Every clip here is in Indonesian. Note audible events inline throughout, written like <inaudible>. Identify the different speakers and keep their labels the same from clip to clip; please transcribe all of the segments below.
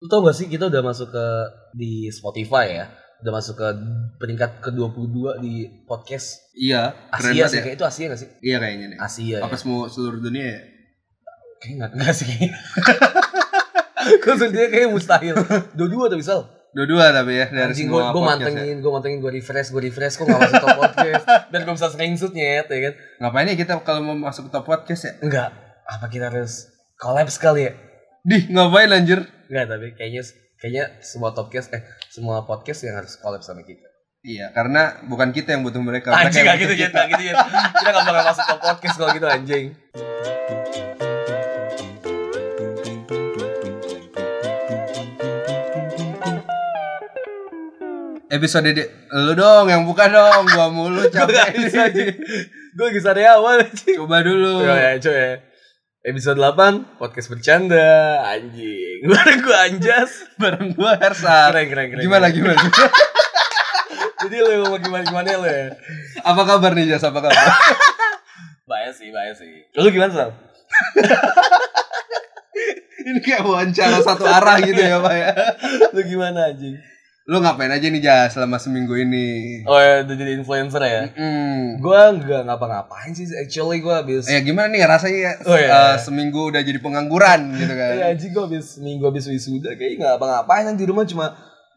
Speaker 1: Lu tau gak sih kita udah masuk ke di Spotify ya? Udah masuk ke peringkat ke-22 di podcast
Speaker 2: Iya, keren
Speaker 1: Asia
Speaker 2: banget
Speaker 1: sih.
Speaker 2: ya.
Speaker 1: Kayak itu Asia gak sih?
Speaker 2: Iya kayaknya nih.
Speaker 1: Asia ya.
Speaker 2: Apa semua seluruh dunia ya?
Speaker 1: Kayaknya gak, gak sih kayaknya. <laughs> Khusus dia kayaknya mustahil. Dua-dua tuh misal.
Speaker 2: Dua-dua tapi ya dari
Speaker 1: Anjing gue
Speaker 2: semua
Speaker 1: gue
Speaker 2: podcast ya.
Speaker 1: mantengin, gue mantengin, gue refresh, gue refresh, kok gak masuk top
Speaker 2: <laughs>
Speaker 1: podcast. Dan gue bisa screenshot nyet ya kan.
Speaker 2: Ngapain ya kita kalau mau masuk ke top podcast ya?
Speaker 1: Enggak, apa kita harus collab sekali ya?
Speaker 2: Dih, ngapain anjir?
Speaker 1: Enggak, tapi kayaknya kayaknya semua podcast eh semua podcast yang harus collab sama kita.
Speaker 2: Iya, karena bukan kita yang butuh mereka. mereka
Speaker 1: Anjing gak
Speaker 2: yang butuh
Speaker 1: gitu Jen, gak gitu Jen. Kita gak bakal masuk ke podcast kalau gitu anjing.
Speaker 2: Episode di... lu dong yang buka dong, gua
Speaker 1: <laughs>
Speaker 2: mulu
Speaker 1: Gue gak
Speaker 2: capek.
Speaker 1: bisa anjing. Gue lagi sariawan anjing.
Speaker 2: Coba dulu.
Speaker 1: Coba ya, coba ya. Episode 8, podcast bercanda, anjing. <laughs> Gue gue anjas.
Speaker 2: Bareng gua Hersa.
Speaker 1: Keren, keren, keren.
Speaker 2: Gimana gimana? <laughs>
Speaker 1: Jadi lu mau gimana gimana lu ya?
Speaker 2: Apa kabar nih Jas? Apa kabar?
Speaker 1: <laughs> Bahaya sih, bahaya sih. Lu gimana, Sal?
Speaker 2: Ini kayak wawancara satu arah gitu ya, Pak ya.
Speaker 1: Lu gimana anjing?
Speaker 2: Lu ngapain aja nih Jas selama seminggu ini?
Speaker 1: Oh, ya, udah jadi influencer ya?
Speaker 2: Hmm.
Speaker 1: Gue nggak ngapa-ngapain sih, actually gue habis
Speaker 2: Eh gimana nih rasanya
Speaker 1: Oh, iya,
Speaker 2: eh,
Speaker 1: iya.
Speaker 2: seminggu udah jadi pengangguran gitu kan?
Speaker 1: Iya anjing gue habis minggu habis wisuda kayaknya nggak apa-ngapain yang di rumah cuma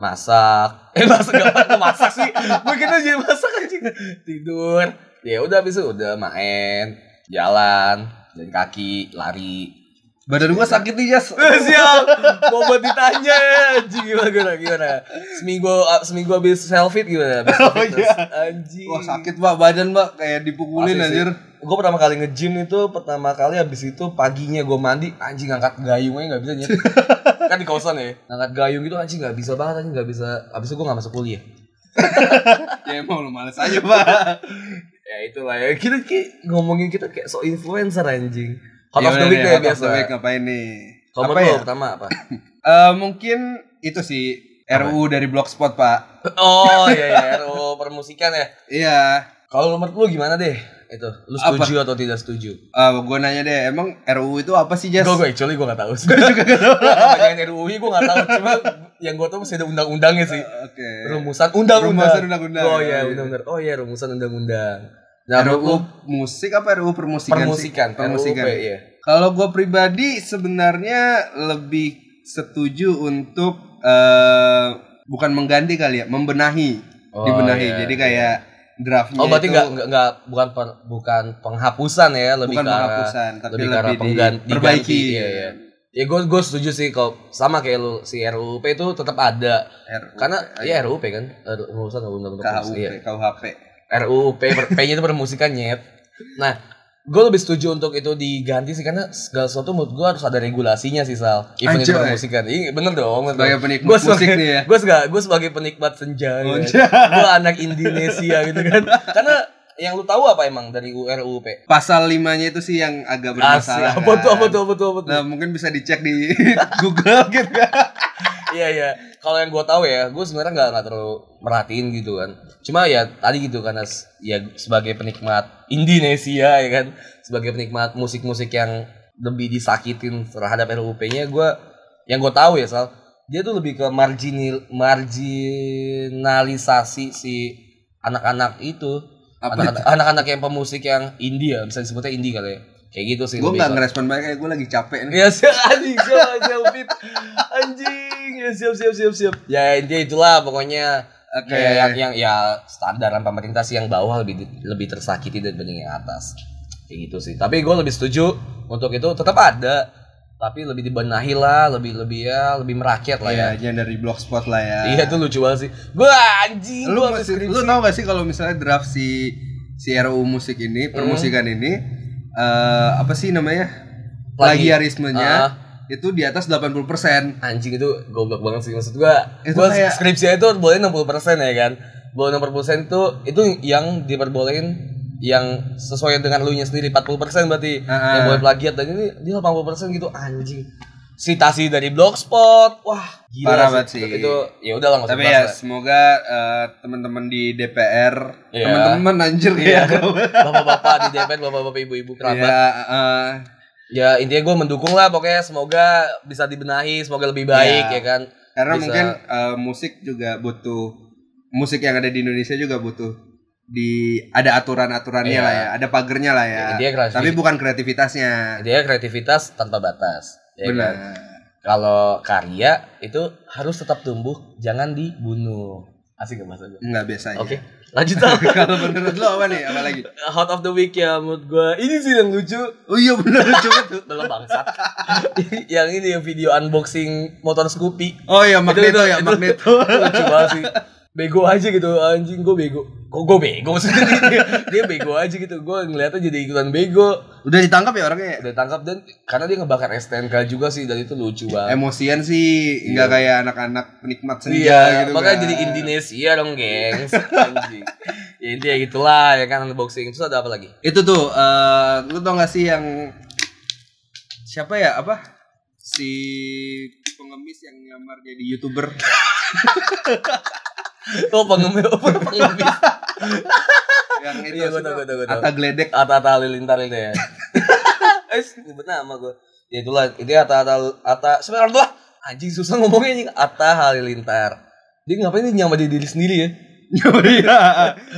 Speaker 1: masak. <laughs> Eh masak nggak apa masak <laughs> sih. Mungkin aja masak anjing. Tidur. Ya udah habis itu udah main, jalan, jalan kaki, lari.
Speaker 2: Badan gua sakit nih Jas.
Speaker 1: Eh, Siap, mau buat ditanya ya anjing gimana gimana gimana. Seminggu eh, seminggu habis selfie gimana? Habis <laughs>
Speaker 2: Oh,
Speaker 1: fitness.
Speaker 2: iya.
Speaker 1: Anjing.
Speaker 2: Wah sakit pak badan pak kayak
Speaker 1: Asli
Speaker 2: dipukulin
Speaker 1: sih.
Speaker 2: anjir.
Speaker 1: Gue pertama kali nge-gym itu pertama kali habis itu paginya gue mandi anjing angkat gayungnya nggak bisa <laughs> nyet. kan di kosan ya. Angkat gayung itu anjing nggak bisa banget anjing nggak bisa. Habis itu gue nggak masuk kuliah.
Speaker 2: Ya emang lu males aja pak.
Speaker 1: Ya itulah ya. Kita kayak ngomongin kita kayak so influencer anjing. Hot
Speaker 2: Kalau
Speaker 1: of the week ya biasa.
Speaker 2: ngapain nih?
Speaker 1: Kalau
Speaker 2: apa
Speaker 1: menurut
Speaker 2: ya?
Speaker 1: lo pertama apa?
Speaker 2: Eh, mungkin itu sih
Speaker 1: ya?
Speaker 2: RUU dari Blogspot pak.
Speaker 1: <laughs> oh iya iya RO permusikan ya.
Speaker 2: Iya.
Speaker 1: Kalau menurut lu gimana deh? Itu lu
Speaker 2: Apa?
Speaker 1: setuju atau tidak setuju?
Speaker 2: Eh gue nanya deh emang RUU itu apa sih Jas?
Speaker 1: Gue gue actually gue gak tahu. Gue juga gak <laughs> tahu. Kebanyakan RUU gue gak tahu. Cuma yang gue tahu masih ada undang-undangnya sih.
Speaker 2: Oke.
Speaker 1: Rumusan undang-undang.
Speaker 2: Rumusan undang-undang.
Speaker 1: Oh
Speaker 2: Iya. Ya,
Speaker 1: iya, undang-undang. Oh iya, rumusan undang-undang. Nah,
Speaker 2: RUU
Speaker 1: menurut lu
Speaker 2: musik apa RUU permusikan? sih?
Speaker 1: permusikan,
Speaker 2: Permusikan.
Speaker 1: RUU, iya.
Speaker 2: Kalau gue pribadi sebenarnya lebih setuju untuk eh bukan mengganti kali ya, membenahi,
Speaker 1: Oh,
Speaker 2: dibenahi.
Speaker 1: iya,
Speaker 2: Jadi kayak draftnya
Speaker 1: Oh, berarti
Speaker 2: Iya, itu
Speaker 1: nggak nggak nggak bukan per- bukan penghapusan ya, lebih
Speaker 2: bukan
Speaker 1: ke arah
Speaker 2: penghapusan, tapi
Speaker 1: lebih
Speaker 2: lebih,
Speaker 1: ke arah penggan-
Speaker 2: diperbaiki. perbaiki.
Speaker 1: diganti, Iya, iya. Ya gue gue setuju sih kalau sama kayak lu si RUUP itu tetap ada.
Speaker 2: RUU,
Speaker 1: Karena ya
Speaker 2: Iya.
Speaker 1: RUUP kan, eh, rumusan undang-undang
Speaker 2: KUP,
Speaker 1: permusikan. Iya.
Speaker 2: KUHP.
Speaker 1: RUU P, P-nya itu permusikan nyet. Nah, gue lebih setuju untuk itu diganti sih karena segala sesuatu menurut gue harus ada regulasinya sih Sal. Even itu
Speaker 2: Anjay.
Speaker 1: permusikan. Iya bener dong. bener
Speaker 2: Sebagai
Speaker 1: dong.
Speaker 2: penikmat
Speaker 1: Gua
Speaker 2: musik
Speaker 1: sebagai-
Speaker 2: nih ya.
Speaker 1: Gue sebagai, gua sebagai penikmat senja. ya.
Speaker 2: Anjay.
Speaker 1: Gue anak Indonesia gitu kan. Karena yang lu tahu apa emang dari RUU P?
Speaker 2: Pasal limanya itu sih yang agak bermasalah.
Speaker 1: Ah, apa tuh, apa
Speaker 2: kan.
Speaker 1: tuh, apa tuh, apa tuh.
Speaker 2: Nah, mungkin bisa dicek di <laughs> Google gitu kan.
Speaker 1: Iya iya. Kalau yang gue tahu ya, gue sebenarnya nggak nggak terlalu merhatiin gitu kan. Cuma ya tadi gitu karena s- ya sebagai penikmat Indonesia ya kan, sebagai penikmat musik-musik yang lebih disakitin terhadap RUP-nya, gue yang gue tahu ya soal dia tuh lebih ke marginil marginalisasi si anak-anak itu
Speaker 2: Apa
Speaker 1: Anak- anak-anak yang pemusik yang India bisa disebutnya indie kali ya kayak gitu sih
Speaker 2: Gue
Speaker 1: lebih
Speaker 2: nggak
Speaker 1: ke-
Speaker 2: ngerespon baik, kayak gue lagi capek nih.
Speaker 1: Ya siap anjing siap siap fit anjing ya siap siap siap siap. Ya intinya itulah pokoknya
Speaker 2: Oke.
Speaker 1: ya, yang, yang ya standaran pemerintah sih yang bawah lebih lebih tersakiti dibanding yang atas. Kayak gitu sih. Tapi gue lebih setuju untuk itu tetap ada tapi lebih dibenahi lah, lebih lebih ya lebih merakyat lah ya.
Speaker 2: Iya, jangan dari blogspot lah ya.
Speaker 1: Iya tuh lucu banget sih. Gue anjing.
Speaker 2: lu
Speaker 1: gua habis
Speaker 2: masih,
Speaker 1: skripsi.
Speaker 2: lu tau gak sih kalau misalnya draft si si RUU musik ini
Speaker 1: Hmm.
Speaker 2: permusikan ini eh apa sih namanya
Speaker 1: Lagi.
Speaker 2: plagiarismenya
Speaker 1: Ah.
Speaker 2: itu di atas 80% persen
Speaker 1: anjing itu goblok banget sih maksud gua
Speaker 2: Itu
Speaker 1: gua
Speaker 2: kayak-
Speaker 1: skripsinya itu boleh 60% ya kan boleh 60% itu itu yang diperbolehin yang sesuai dengan lu nya sendiri 40% berarti
Speaker 2: Ah.
Speaker 1: yang boleh plagiat dan ini dia 80% gitu anjing citasi dari blogspot wah gila
Speaker 2: Parah banget sih.
Speaker 1: itu, itu ya udah lah nggak usah
Speaker 2: tapi
Speaker 1: dibahas
Speaker 2: ya
Speaker 1: lah.
Speaker 2: semoga eh, teman-teman di DPR
Speaker 1: Iya.
Speaker 2: <laughs> teman-teman anjir
Speaker 1: Iya.
Speaker 2: ya
Speaker 1: bapak-bapak di DPR bapak-bapak ibu-ibu
Speaker 2: ya
Speaker 1: kerabat
Speaker 2: eh,
Speaker 1: ya intinya gue mendukung lah pokoknya semoga bisa dibenahi semoga lebih baik
Speaker 2: Iya.
Speaker 1: ya kan
Speaker 2: Karena
Speaker 1: Bisa.
Speaker 2: mungkin eh, musik juga butuh musik yang ada di Indonesia juga butuh di ada aturan-aturannya
Speaker 1: Iya.
Speaker 2: lah ya, ada pagernya lah ya.
Speaker 1: Intinya kreativitas.
Speaker 2: Tapi bukan kreativitasnya.
Speaker 1: intinya kreativitas tanpa batas ya
Speaker 2: Benar.
Speaker 1: kan? kalau karya itu harus tetap tumbuh jangan dibunuh asik gak bahasa gue
Speaker 2: Enggak biasanya.
Speaker 1: oke lanjut Al.
Speaker 2: <laughs> Kalau menurut lo apa nih? Apa lagi?
Speaker 1: <laughs> hot of the week ya menurut gue ini sih yang lucu
Speaker 2: Oh iya benar <laughs> coba tuh.
Speaker 1: dalam
Speaker 2: <laughs>
Speaker 1: bangsat yang ini yang video unboxing motor Scoopy
Speaker 2: Oh iya magneto ya magneto.
Speaker 1: lucu banget sih bego aja gitu anjing gue bego kok gue bego sih
Speaker 2: <laughs>
Speaker 1: dia, dia bego aja gitu gue ngeliatnya jadi ikutan bego
Speaker 2: Udah ditangkap ya orangnya? ya?
Speaker 1: udah tangkap dan karena dia ngebakar STNK juga sih dan itu lucu banget
Speaker 2: Emosian sih nggak kayak anak-anak penikmat senja
Speaker 1: Iya,
Speaker 2: gitu.
Speaker 1: makanya
Speaker 2: kan.
Speaker 1: jadi Indonesia dong, gengs. Anjing. ya intinya gitulah ya kan unboxing. Terus ada apa lagi? <laughs>
Speaker 2: Itu tuh eh lu tau gak sih yang siapa ya apa si pengemis yang nyamar jadi
Speaker 1: <laughs>
Speaker 2: youtuber
Speaker 1: Oh, pengemis, oh, pengemis.
Speaker 2: yang itu
Speaker 1: Iya, gua tau, gua
Speaker 2: siapa?
Speaker 1: tau, gua tau.
Speaker 2: Atta
Speaker 1: <laughs>
Speaker 2: Gledek
Speaker 1: Ata-ata lilintar itu <laughs> ya. Eh, nyebut nama gue. Ya itulah, itu Ata-ata Ata sebenarnya tuh anjing susah ngomongnya anjing Ata Halilintar. Dia ngapain dia nyamar jadi diri sendiri ya?
Speaker 2: nyamar <laughs> iya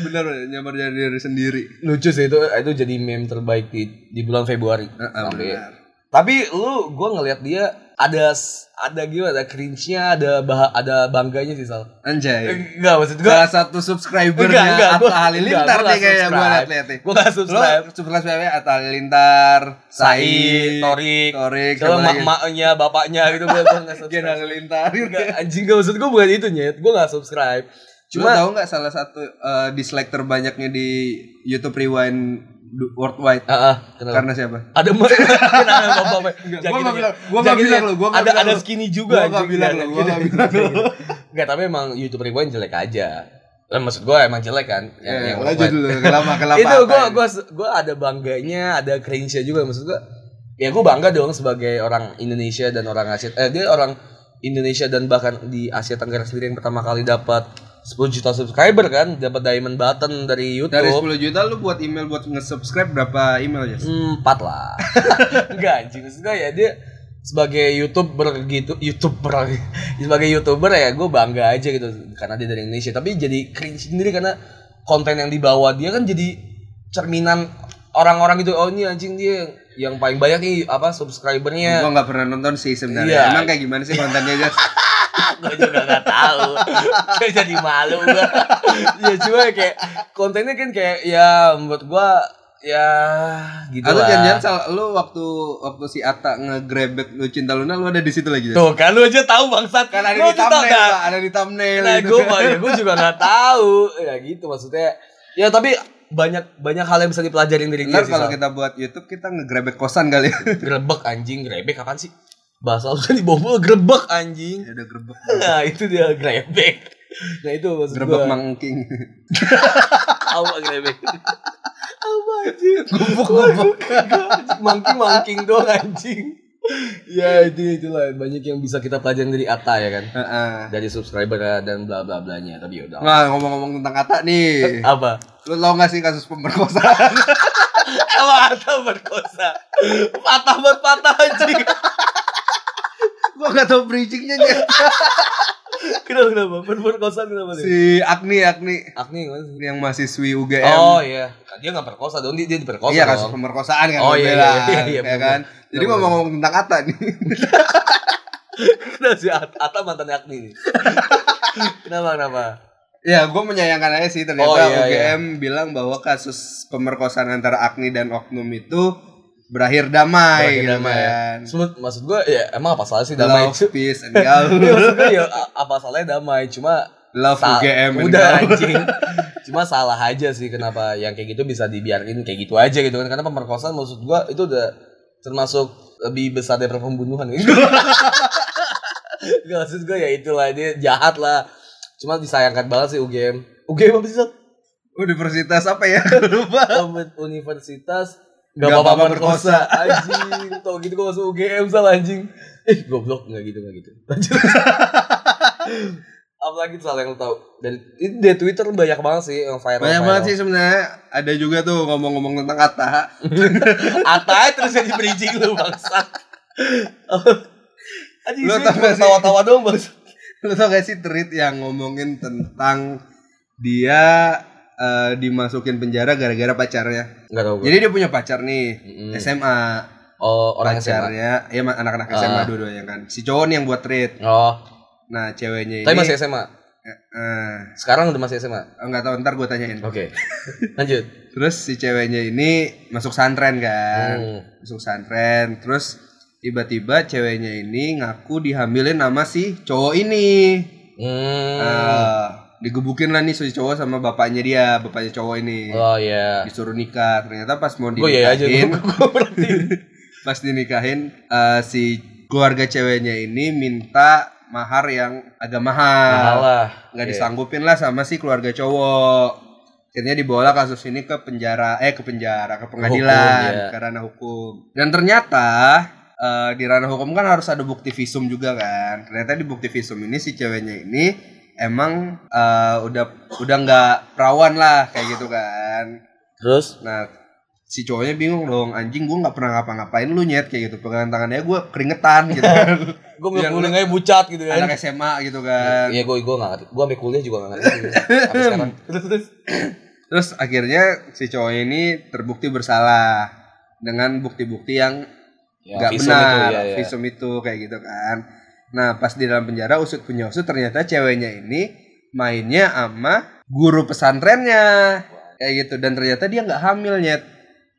Speaker 2: bener bener, nyamar jadi diri sendiri
Speaker 1: Lucu sih itu itu jadi meme terbaik di, di bulan Februari.
Speaker 2: Heeh,
Speaker 1: Sampai-
Speaker 2: benar.
Speaker 1: Tapi lu gue ngelihat dia ada s- ada gimana ada cringe-nya, ada bah, ada bangganya sih Sal.
Speaker 2: anjay
Speaker 1: Eh, Enggak maksud gue
Speaker 2: salah satu subscribernya Atta Halilintar nih kayaknya gue liat-liat nih
Speaker 1: Gue gak
Speaker 2: lo
Speaker 1: subscribe.
Speaker 2: subscribe Atta Halilintar
Speaker 1: Said, Torik,
Speaker 2: Torik
Speaker 1: Kalau
Speaker 2: siapa lagi?
Speaker 1: mak-maknya, bapaknya gitu
Speaker 2: <laughs>
Speaker 1: gue gak
Speaker 2: Gen
Speaker 1: subscribe.
Speaker 2: Halilintar
Speaker 1: Enggak, anjing gak maksud gue bukan itu nyet. Gue gak subscribe.
Speaker 2: Cuma
Speaker 1: Cuma
Speaker 2: tahu nggak salah satu eh, dislike terbanyaknya di YouTube Rewind du- worldwide
Speaker 1: Ah, ah, kenapa?
Speaker 2: karena siapa?
Speaker 1: Ada mak kenapa bapak
Speaker 2: Gua nggak bilang- gua nggak bilang lu, gua nggak
Speaker 1: ada
Speaker 2: bilang
Speaker 1: ada
Speaker 2: lu.
Speaker 1: skinny juga
Speaker 2: Gua nggak
Speaker 1: anjing,
Speaker 2: bilang
Speaker 1: jangan
Speaker 2: lu, gua
Speaker 1: gitu.
Speaker 2: nggak
Speaker 1: <laughs>
Speaker 2: bilang lu.
Speaker 1: Enggak, tapi emang YouTube Rewind jelek aja. Eh, maksud gue emang jelek kan yang,
Speaker 2: Ya,
Speaker 1: yang
Speaker 2: lanjut
Speaker 1: Rewind.
Speaker 2: dulu kenapa <laughs> kenapa?
Speaker 1: itu
Speaker 2: apa ya?
Speaker 1: gue
Speaker 2: ini?
Speaker 1: gua gua ada bangganya ada cringe nya juga maksud gue ya gue bangga dong sebagai orang Indonesia dan orang Asia eh dia orang Indonesia dan bahkan di Asia Tenggara sendiri yang pertama kali dapat 10 juta subscriber kan dapat diamond button dari YouTube
Speaker 2: dari 10 juta lu buat email buat nge-subscribe berapa email ya?
Speaker 1: Hmm, empat lah <laughs> enggak anjing maksud gue ya dia sebagai youtuber gitu youtuber <laughs> sebagai youtuber ya gue bangga aja gitu karena dia dari Indonesia tapi jadi cringe sendiri karena konten yang dibawa dia kan jadi cerminan orang-orang gitu oh ini anjing dia yang paling banyak nih apa subscribernya
Speaker 2: <laughs> Gua nggak pernah nonton sih
Speaker 1: Iya.
Speaker 2: sebenarnya. Emang kayak gimana sih kontennya <laughs> Jas?
Speaker 1: gue juga gak <laughs> tahu gue jadi malu gue ya cuma kayak kontennya kan kayak ya menurut gue ya gitu
Speaker 2: Atau
Speaker 1: lah
Speaker 2: jangan-jangan salah lu waktu waktu si Ata ngegrebek lu cinta Luna lu ada di situ lagi Jas?
Speaker 1: Tuh kan lu aja tahu bangsat
Speaker 2: Kan ada
Speaker 1: Lu
Speaker 2: di
Speaker 1: aja tahu,
Speaker 2: thumbnail,
Speaker 1: nah.
Speaker 2: Pak. ada di thumbnail.
Speaker 1: Nah,
Speaker 2: gitu.
Speaker 1: gue ya, gue juga nggak tahu. Ya gitu maksudnya. Ya tapi banyak banyak hal yang bisa dipelajarin dari dia
Speaker 2: Ntar
Speaker 1: Iya sih.
Speaker 2: kalau gitu.
Speaker 1: Sal.
Speaker 2: kita buat YouTube kita ngegrebek kosan kali. <laughs>
Speaker 1: Grebek anjing, grebek kapan sih? Bahasa lu kan dibobol grebek anjing.
Speaker 2: ya udah grebek.
Speaker 1: Nah, itu dia grebek. Nah, itu maksud
Speaker 2: Grebek
Speaker 1: gua.
Speaker 2: mangking. <laughs>
Speaker 1: Apa grebek? Apa anjing?
Speaker 2: Gubuk gubuk.
Speaker 1: Mangking-mangking doang anjing. Ya itu itulah banyak yang bisa kita pelajarin dari Atta ya kan.
Speaker 2: Heeh.
Speaker 1: Dari subscriber dan bla bla blanya. Tapi ya yaudah.
Speaker 2: Nah, ngomong-ngomong tentang Atta nih.
Speaker 1: Apa?
Speaker 2: Lu tau gak sih kasus pemerkosaan?
Speaker 1: Emang Atta berkosa Patah buat patah anjing
Speaker 2: <laughs> Gua gak tau bridgingnya nih.
Speaker 1: Kenapa kenapa Ber- Berkosa kenapa nih
Speaker 2: si Agni, Agni.
Speaker 1: Agni gimana sih?
Speaker 2: Yang mahasiswi UGM.
Speaker 1: Oh iya Dia gak berkosa dong Dia, dia diperkosa
Speaker 2: iya, kasus
Speaker 1: dong.
Speaker 2: pemerkosaan kan.
Speaker 1: Oh,
Speaker 2: gua
Speaker 1: iya,
Speaker 2: bilang,
Speaker 1: iya, iya, iya,
Speaker 2: ya
Speaker 1: bener.
Speaker 2: kan? Jadi
Speaker 1: Bener,
Speaker 2: ngomong-ngomong tentang Atta nih. <laughs>
Speaker 1: Kenapa Nah, si At- Atta mantan Agni nih Kenapa kenapa
Speaker 2: ya, gua menyayangkan aja sih. Ternyata
Speaker 1: Oh, iya,
Speaker 2: UGM bilang bahwa kasus pemerkosaan antara Agni dan Oknum itu berakhir damai.
Speaker 1: Berakhir
Speaker 2: gitu
Speaker 1: damai ya.
Speaker 2: kan.
Speaker 1: Sebut- Maksud gue ya emang apa salah sih damai
Speaker 2: Love,
Speaker 1: Iya,
Speaker 2: peace, and love.
Speaker 1: Maksud gue ya a- apa salahnya damai Cuma
Speaker 2: Love
Speaker 1: sa-
Speaker 2: UGM. and
Speaker 1: Udah
Speaker 2: gaul.
Speaker 1: anjing Cuma salah aja sih kenapa yang kayak gitu bisa dibiarin kayak gitu aja gitu kan Karena pemerkosaan maksud gua itu udah termasuk lebih besar daripada pembunuhan Gak maksud gua ya itulah dia jahat lah Cuma disayangkan banget sih UGM UGM apa sih Sat?
Speaker 2: <laughs> Universitas apa ya? Lupa.
Speaker 1: Universitas
Speaker 2: Gak
Speaker 1: Gak apa-apa
Speaker 2: apa-apa
Speaker 1: berkosa Anjing Tau gitu gua masuk UGM salah anjing Eh goblok Gak gitu gak gitu Lanjut Apa lagi soal yang lu tahu. Dan itu di Twitter banyak banget sih yang viral.
Speaker 2: Banyak banget sih sebenarnya. Ada juga tuh ngomong-ngomong tentang
Speaker 1: <laughs>
Speaker 2: Atta.
Speaker 1: Atai terus jadi bridging lu bangsa. Aji,
Speaker 2: Lu
Speaker 1: lu
Speaker 2: tau gak sih?
Speaker 1: tawa-tawa doang bangsa.
Speaker 2: Lu tau gak sih tweet yang ngomongin tentang dia eh, dimasukin penjara gara-gara pacarnya.
Speaker 1: Enggak tahu gue.
Speaker 2: Jadi dia punya pacar nih
Speaker 1: Mm-mm. SMA.
Speaker 2: SMA.
Speaker 1: Oh, orang SMA.
Speaker 2: pacarnya, ya anak-anak SMA
Speaker 1: Ah.
Speaker 2: dua-duanya kan. Si cowok nih yang buat tweet.
Speaker 1: Oh,
Speaker 2: Nah ceweknya ini.
Speaker 1: tapi masih SMA.
Speaker 2: Eh,
Speaker 1: Sekarang udah masih SMA.
Speaker 2: nggak tahu ntar gue tanyain.
Speaker 1: Oke. Lanjut.
Speaker 2: Terus si ceweknya ini masuk santren kan.
Speaker 1: Hmm.
Speaker 2: masuk santren terus tiba-tiba ceweknya ini ngaku dihamilin sama si cowok ini
Speaker 1: Hmm.
Speaker 2: Eh, digebukin lah nih si cowok sama bapaknya dia bapaknya cowok ini
Speaker 1: Oh ya.
Speaker 2: disuruh nikah ternyata pas mau
Speaker 1: Gue ya aja <laughs>
Speaker 2: dinikahin
Speaker 1: gue berarti.
Speaker 2: pas dinikahin eh, si keluarga ceweknya ini minta mahar yang agak mahal
Speaker 1: Kalah.
Speaker 2: Nah, nggak
Speaker 1: Oke.
Speaker 2: disanggupin lah sama si keluarga cowok akhirnya dibawa kasus ini ke penjara eh ke penjara ke pengadilan
Speaker 1: Hukum, ya.
Speaker 2: ke ranah hukum dan ternyata eh, di ranah hukum kan harus ada bukti visum juga kan ternyata di bukti visum ini si ceweknya ini emang eh, udah udah nggak perawan lah kayak gitu kan
Speaker 1: Terus
Speaker 2: nah si cowoknya bingung dong anjing gue nggak pernah ngapa-ngapain lu nyet kayak gitu pegangan tangannya gue keringetan gitu kan
Speaker 1: gue ngeliat
Speaker 2: Yang
Speaker 1: kuliah aja bucat gitu kan.
Speaker 2: anak SMA gitu kan
Speaker 1: Iya gue gue nggak ngerti. Gue ambil kuliah juga nggak <laughs> ngerti. Sampai sekarang. Terus terus.
Speaker 2: Terus akhirnya si cowok ini terbukti bersalah dengan bukti-bukti yang
Speaker 1: Ya,
Speaker 2: nggak
Speaker 1: visum
Speaker 2: benar,
Speaker 1: ya, ya.
Speaker 2: visum itu kayak gitu kan. Nah pas di dalam penjara usut punya usut ternyata ceweknya ini mainnya sama guru pesantrennya kayak gitu dan ternyata dia nggak hamilnya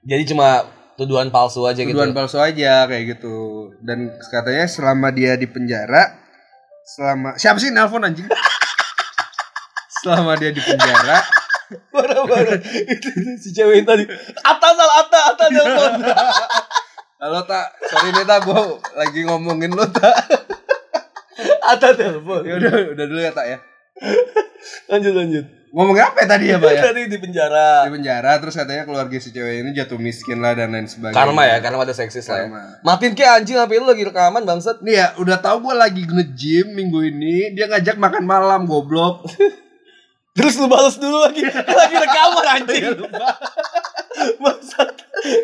Speaker 1: Jadi cuma tuduhan palsu aja gitu.
Speaker 2: tuduhan palsu aja kayak gitu dan katanya selama dia di penjara selama siapa sih nelpon anjing <laughs> selama dia di penjara
Speaker 1: Parah-parah. <laughs> Itu si cewek yang tadi. Atas al atas atas
Speaker 2: <laughs>
Speaker 1: telepon.
Speaker 2: halo tak sorry nih tak gue lagi ngomongin lo tak
Speaker 1: Atas telepon.
Speaker 2: ya udah udah dulu ya tak ya
Speaker 1: Lanjut lanjut.
Speaker 2: ngomongin apa ya tadi ya pak ya
Speaker 1: <laughs> Tadi di penjara.
Speaker 2: di penjara terus katanya keluarga si cewek ini jatuh miskin lah dan lain sebagainya
Speaker 1: Karma ya, karma ada seksis lah. Ya.
Speaker 2: Karma.
Speaker 1: Matiin ke anjing apa lu lagi rekaman bangsat.
Speaker 2: nih ya udah tahu gue lagi nge-gym minggu ini dia ngajak makan malam
Speaker 1: <laughs>
Speaker 2: goblok
Speaker 1: Terus lu balas dulu lagi. <laughs> lagi rekaman anjing. <laughs> bangsat.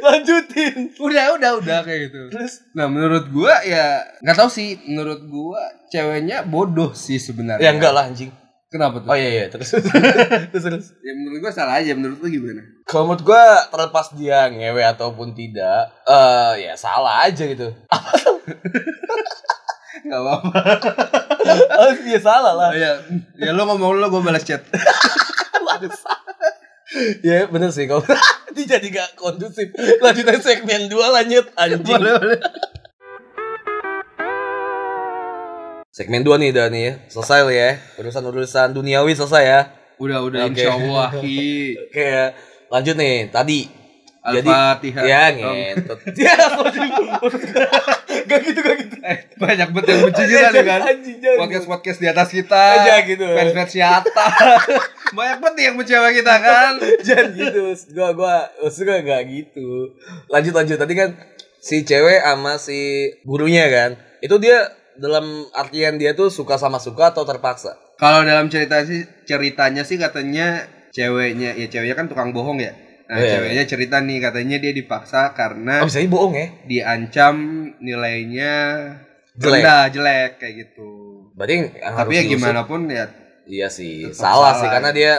Speaker 1: Lanjutin.
Speaker 2: udah udah udah kayak gitu
Speaker 1: Terus
Speaker 2: nah menurut gue ya nggak tahu sih menurut gue ceweknya bodoh sih
Speaker 1: ya
Speaker 2: sebenarnya
Speaker 1: enggak lah anjing.
Speaker 2: kenapa tuh
Speaker 1: Oh iya iya terus <laughs> terus terus.
Speaker 2: ya menurut gue salah aja menurut lu gimana
Speaker 1: Kalau menurut gue terlepas dia ngewe ataupun tidak, eh ya salah aja gitu.
Speaker 2: nggak apa-apa
Speaker 1: oh, ya salah <laughs> lah.
Speaker 2: Oh, ya ya lo ngomong lo gue balas chat
Speaker 1: ya bener sih kalau <laughs> dia jadi gak kondusif. Lanjutin segmen dua lanjut anjing.
Speaker 2: boleh boleh
Speaker 1: Segmen dua nih udah nih ya. Selesai lah ya. Urusan-urusan duniawi selesai ya.
Speaker 2: udah udah
Speaker 1: Oke.
Speaker 2: insya Allah Ki.
Speaker 1: Oke lanjut nih tadi.
Speaker 2: Al-Fatihah.
Speaker 1: Ya ngentot. <laughs> Ya <laughs> Gak gitu gak gitu.
Speaker 2: Eh, <laughs> banyak banget yang berjijiran
Speaker 1: Jangan,
Speaker 2: kan
Speaker 1: anjing, jangan.
Speaker 2: podcast podcast di atas kita
Speaker 1: Aja gitu.
Speaker 2: fans fans siata <laughs> banyak banget yang mencewa kita kan
Speaker 1: Jangan gitu. maksud Gua gua maksud gua gak gitu. Lanjut lanjut. Tadi kan si cewek sama si gurunya kan. Itu dia dalam artian dia tuh suka sama suka atau terpaksa.
Speaker 2: kalau dalam cerita sih ceritanya sih katanya ceweknya ya ceweknya kan tukang bohong ya nah
Speaker 1: Iya.
Speaker 2: ceweknya cerita nih katanya dia dipaksa
Speaker 1: Oh,
Speaker 2: karena
Speaker 1: bisa aja bohong ya.
Speaker 2: diancam nilainya
Speaker 1: Jelek.
Speaker 2: rendah jelek kayak gitu
Speaker 1: Berarti yang harus
Speaker 2: tapi ya
Speaker 1: diusut-
Speaker 2: gimana pun ya
Speaker 1: Iya sih.
Speaker 2: Tetap
Speaker 1: Salah, sih
Speaker 2: salah. ya.
Speaker 1: karena dia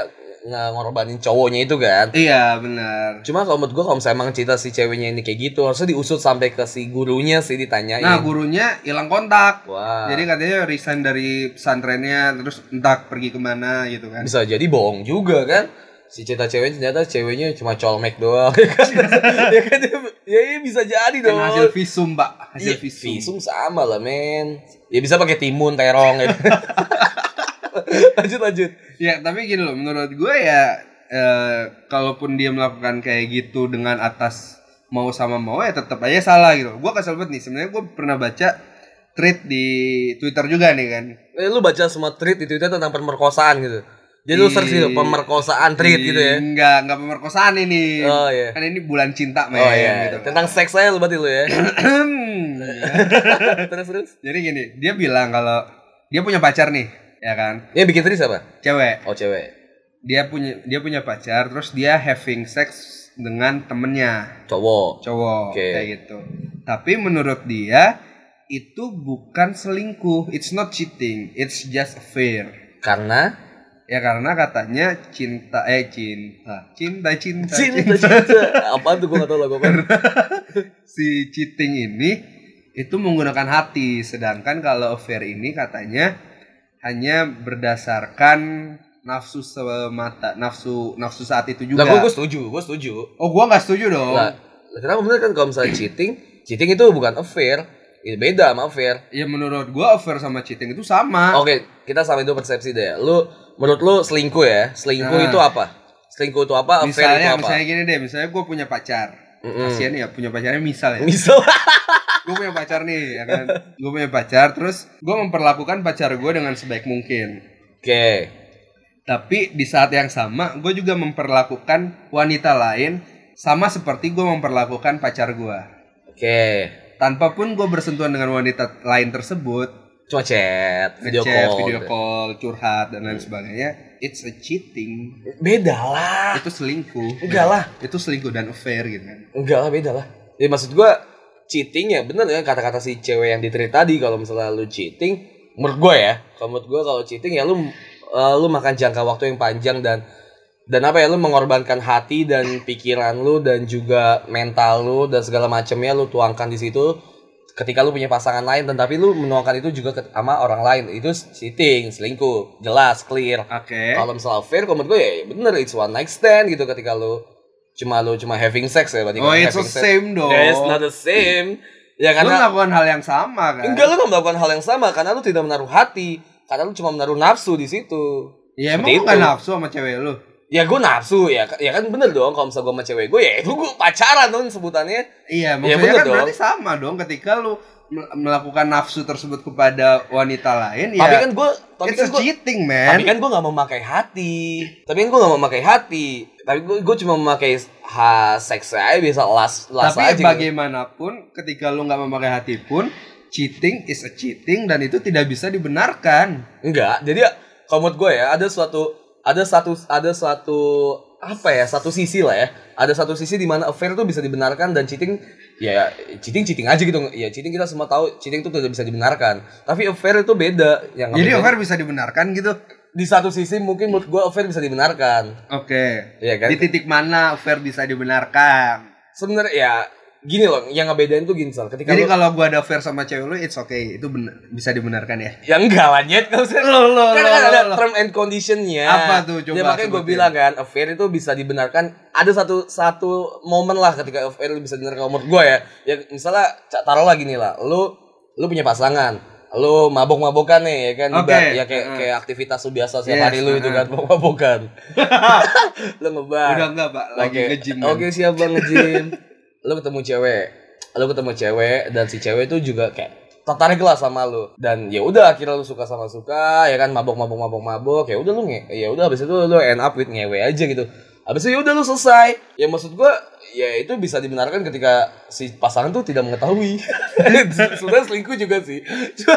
Speaker 1: nge- ngorbanin cowoknya itu kan.
Speaker 2: iya benar
Speaker 1: Cuma kalau menurut gua kalau misalnya emang cerita si ceweknya ini kayak gitu harusnya diusut sampai ke si gurunya sih ditanyain.
Speaker 2: nah gurunya hilang kontak
Speaker 1: Wah.
Speaker 2: Jadi katanya resign dari pesantrennya terus entah pergi kemana gitu kan.
Speaker 1: bisa jadi bohong juga kan si cerita ceweknya ternyata ceweknya cuma colmek doang <laughs> ya kan ya kan ya, ya bisa jadi
Speaker 2: Kan
Speaker 1: dong
Speaker 2: hasil visum, Pak. Hasil
Speaker 1: Iya,
Speaker 2: visum.
Speaker 1: visum sama lah men ya bisa pakai timun terong ya. <laughs> lanjut lanjut
Speaker 2: Ya, tapi gini loh, menurut gue ya eh, kalaupun dia melakukan kayak gitu dengan atas mau sama mau ya tetap aja salah gitu. Gue kesel banget nih. Sebenarnya gue pernah baca tweet di Twitter juga nih kan.
Speaker 1: eh, lu baca semua tweet di twitter tentang pemerkosaan gitu jadi lu
Speaker 2: Di-
Speaker 1: search gitu pemerkosaan tweet gitu ya
Speaker 2: Enggak, enggak pemerkosaan ini.
Speaker 1: Oh, iya.
Speaker 2: Kan ini bulan cinta men
Speaker 1: oh iya
Speaker 2: gitu. <clears throat>
Speaker 1: tentang seks aja lu berarti lu
Speaker 2: <laughs>
Speaker 1: ya
Speaker 2: Ahem.
Speaker 1: terus terus
Speaker 2: Jadi gini, dia bilang kalau dia punya pacar nih. ya kan
Speaker 1: Ya bikin tadi siapa?
Speaker 2: cewek
Speaker 1: Oh cewek,
Speaker 2: dia punya dia punya pacar terus dia having sex dengan temennya
Speaker 1: cowok.
Speaker 2: cowok
Speaker 1: Oke.
Speaker 2: kayak gitu tapi menurut dia itu bukan selingkuh it's not cheating it's just affair
Speaker 1: Karena
Speaker 2: ya karena katanya cinta eh cinta cinta cinta,
Speaker 1: cinta
Speaker 2: cinta.
Speaker 1: cinta. Apaan tuh gue gak tau lagu apa.
Speaker 2: si cheating ini itu menggunakan hati sedangkan kalau affair ini katanya hanya berdasarkan nafsu semata nafsu nafsu saat itu
Speaker 1: Lah
Speaker 2: juga
Speaker 1: gue setuju, gue setuju.
Speaker 2: oh gua nggak setuju dong
Speaker 1: Lah, kenapa bener kan kalau misalnya cheating, cheating itu bukan affair. Ya, beda sama affair.
Speaker 2: ya menurut gua affair sama cheating itu sama
Speaker 1: Oke, kita sama itu persepsi deh. Lu menurut lu selingkuh ya? Selingkuh
Speaker 2: Nah.
Speaker 1: itu apa? Selingkuh itu apa? Affair
Speaker 2: misalnya
Speaker 1: itu apa?
Speaker 2: misalnya gini deh misalnya gue punya pacar
Speaker 1: Mm-mm. Mm.
Speaker 2: kasihan ya punya pacarnya misal ya
Speaker 1: Misal. <laughs>
Speaker 2: gue punya pacar nih ya kan gue punya pacar terus gue memperlakukan pacar gue dengan sebaik mungkin
Speaker 1: Oke.
Speaker 2: tapi di saat yang sama gue juga memperlakukan wanita lain sama seperti gue memperlakukan pacar gue
Speaker 1: Oke.
Speaker 2: tanpa pun gue bersentuhan dengan wanita lain tersebut
Speaker 1: Cuma chat, video
Speaker 2: ngechat,
Speaker 1: call. ya. Mm.
Speaker 2: video call curhat dan lain sebagainya it's a cheating
Speaker 1: Beda lah.
Speaker 2: itu selingkuh
Speaker 1: Enggak lah.
Speaker 2: itu selingkuh dan affair gitu kan
Speaker 1: Enggak lah beda lah. Ya maksud gua cheating ya bener ya kata-kata si cewek yang diterit tadi kalau misalnya lu cheating menurut gua ya kalau menurut gua kalau cheating ya lu eh, lu makan jangka waktu yang panjang dan dan apa ya lu mengorbankan hati dan pikiran lu dan juga mental lu dan segala macamnya lu tuangkan di situ ketika lu punya pasangan lain dan tapi lu menuangkan itu juga ke, sama orang lain itu cheating selingkuh jelas clear
Speaker 2: oke
Speaker 1: kalau misalnya fair kalau menurut gue ya bener it's one night stand gitu ketika lu cuma lu cuma having sex ya berarti
Speaker 2: Oh,
Speaker 1: kan,
Speaker 2: it's the
Speaker 1: having sex.
Speaker 2: same dong.
Speaker 1: Yeah, it's not the same ya
Speaker 2: Lu
Speaker 1: karena
Speaker 2: melakukan hal yang sama kan?
Speaker 1: enggak lu nggak melakukan hal yang sama karena lu tidak menaruh hati karena lu cuma menaruh nafsu di situ
Speaker 2: Ya emang
Speaker 1: Seperti
Speaker 2: lu nggak
Speaker 1: itu.
Speaker 2: nafsu sama cewek lu.
Speaker 1: ya gue nafsu ya ya kan bener dong kalau misalnya gue sama cewek gue ya itu gue pacaran dong sebutannya
Speaker 2: Iya,
Speaker 1: bener
Speaker 2: maksudnya kan
Speaker 1: dong.
Speaker 2: berarti sama dong ketika lu mel- melakukan nafsu tersebut kepada wanita lain ya.
Speaker 1: tapi kan gue tapi kan
Speaker 2: it's a
Speaker 1: gue
Speaker 2: cheating, man.
Speaker 1: tapi kan gue nggak memakai hati tapi kan gue nggak memakai hati tapi gue gue cuma memakai ha seks aja biasa las las
Speaker 2: Tapi
Speaker 1: aja gitu.
Speaker 2: bagaimanapun ketika lu nggak memakai hati pun cheating is a cheating dan itu tidak bisa dibenarkan.
Speaker 1: Enggak, jadi kalau menurut gue ya ada suatu ada satu ada suatu apa ya satu sisi lah ya ada satu sisi di mana affair tuh bisa dibenarkan dan cheating ya cheating cheating aja gitu ya cheating kita semua tahu cheating tuh tidak bisa dibenarkan tapi affair itu beda yang
Speaker 2: Jadi
Speaker 1: beda-
Speaker 2: over bisa dibenarkan gitu.
Speaker 1: di satu sisi mungkin menurut gue affair bisa dibenarkan
Speaker 2: Oke.
Speaker 1: ya kan
Speaker 2: Di titik mana over bisa dibenarkan?
Speaker 1: sebenarnya ya gini loh yang ngebedain tuh gini Sal. ketika
Speaker 2: Jadi
Speaker 1: lu-
Speaker 2: kalau gua ada affair sama cewek lu it's okay, itu bener- bisa dibenarkan ya.
Speaker 1: <laughs> Ya enggak lah, Nyet. Kalau saya lo,
Speaker 2: lo,
Speaker 1: kan
Speaker 2: lo,
Speaker 1: kan
Speaker 2: lo,
Speaker 1: ada
Speaker 2: lo.
Speaker 1: term and conditionnya.
Speaker 2: Apa tuh? Coba
Speaker 1: Ya makanya gue
Speaker 2: sebutin.
Speaker 1: bilang kan, affair itu bisa dibenarkan. Ada satu satu momen lah ketika affair itu bisa dibenarkan menurut gue ya. Ya misalnya ca- taruh lagi nih lah, lu lu punya pasangan, lu mabok-mabokan nih ya kan di
Speaker 2: Oke.
Speaker 1: bar, ya kayak
Speaker 2: Heeh.
Speaker 1: kayak aktivitas lu biasa setiap
Speaker 2: Yes,
Speaker 1: hari lu itu kan
Speaker 2: <laughs>
Speaker 1: mabok-mabokan. lu ngebar.
Speaker 2: Udah enggak, Pak. Lagi
Speaker 1: Oke.
Speaker 2: nge-gym. kan?
Speaker 1: Oke, siap Bang nge-gym. lu ketemu cewek. Lu ketemu cewek dan si cewek itu juga kayak tertarik lah sama lu dan ya udah akhirnya lu suka sama suka ya kan mabok mabok mabok mabok ya udah lu nge ya udah habis itu lu end up with ngewe aja gitu habis itu ya udah lu selesai ya maksud gua ya itu bisa dibenarkan ketika si pasangan tuh tidak mengetahui <laughs> sebenarnya selingkuh juga sih <laughs> Cuma,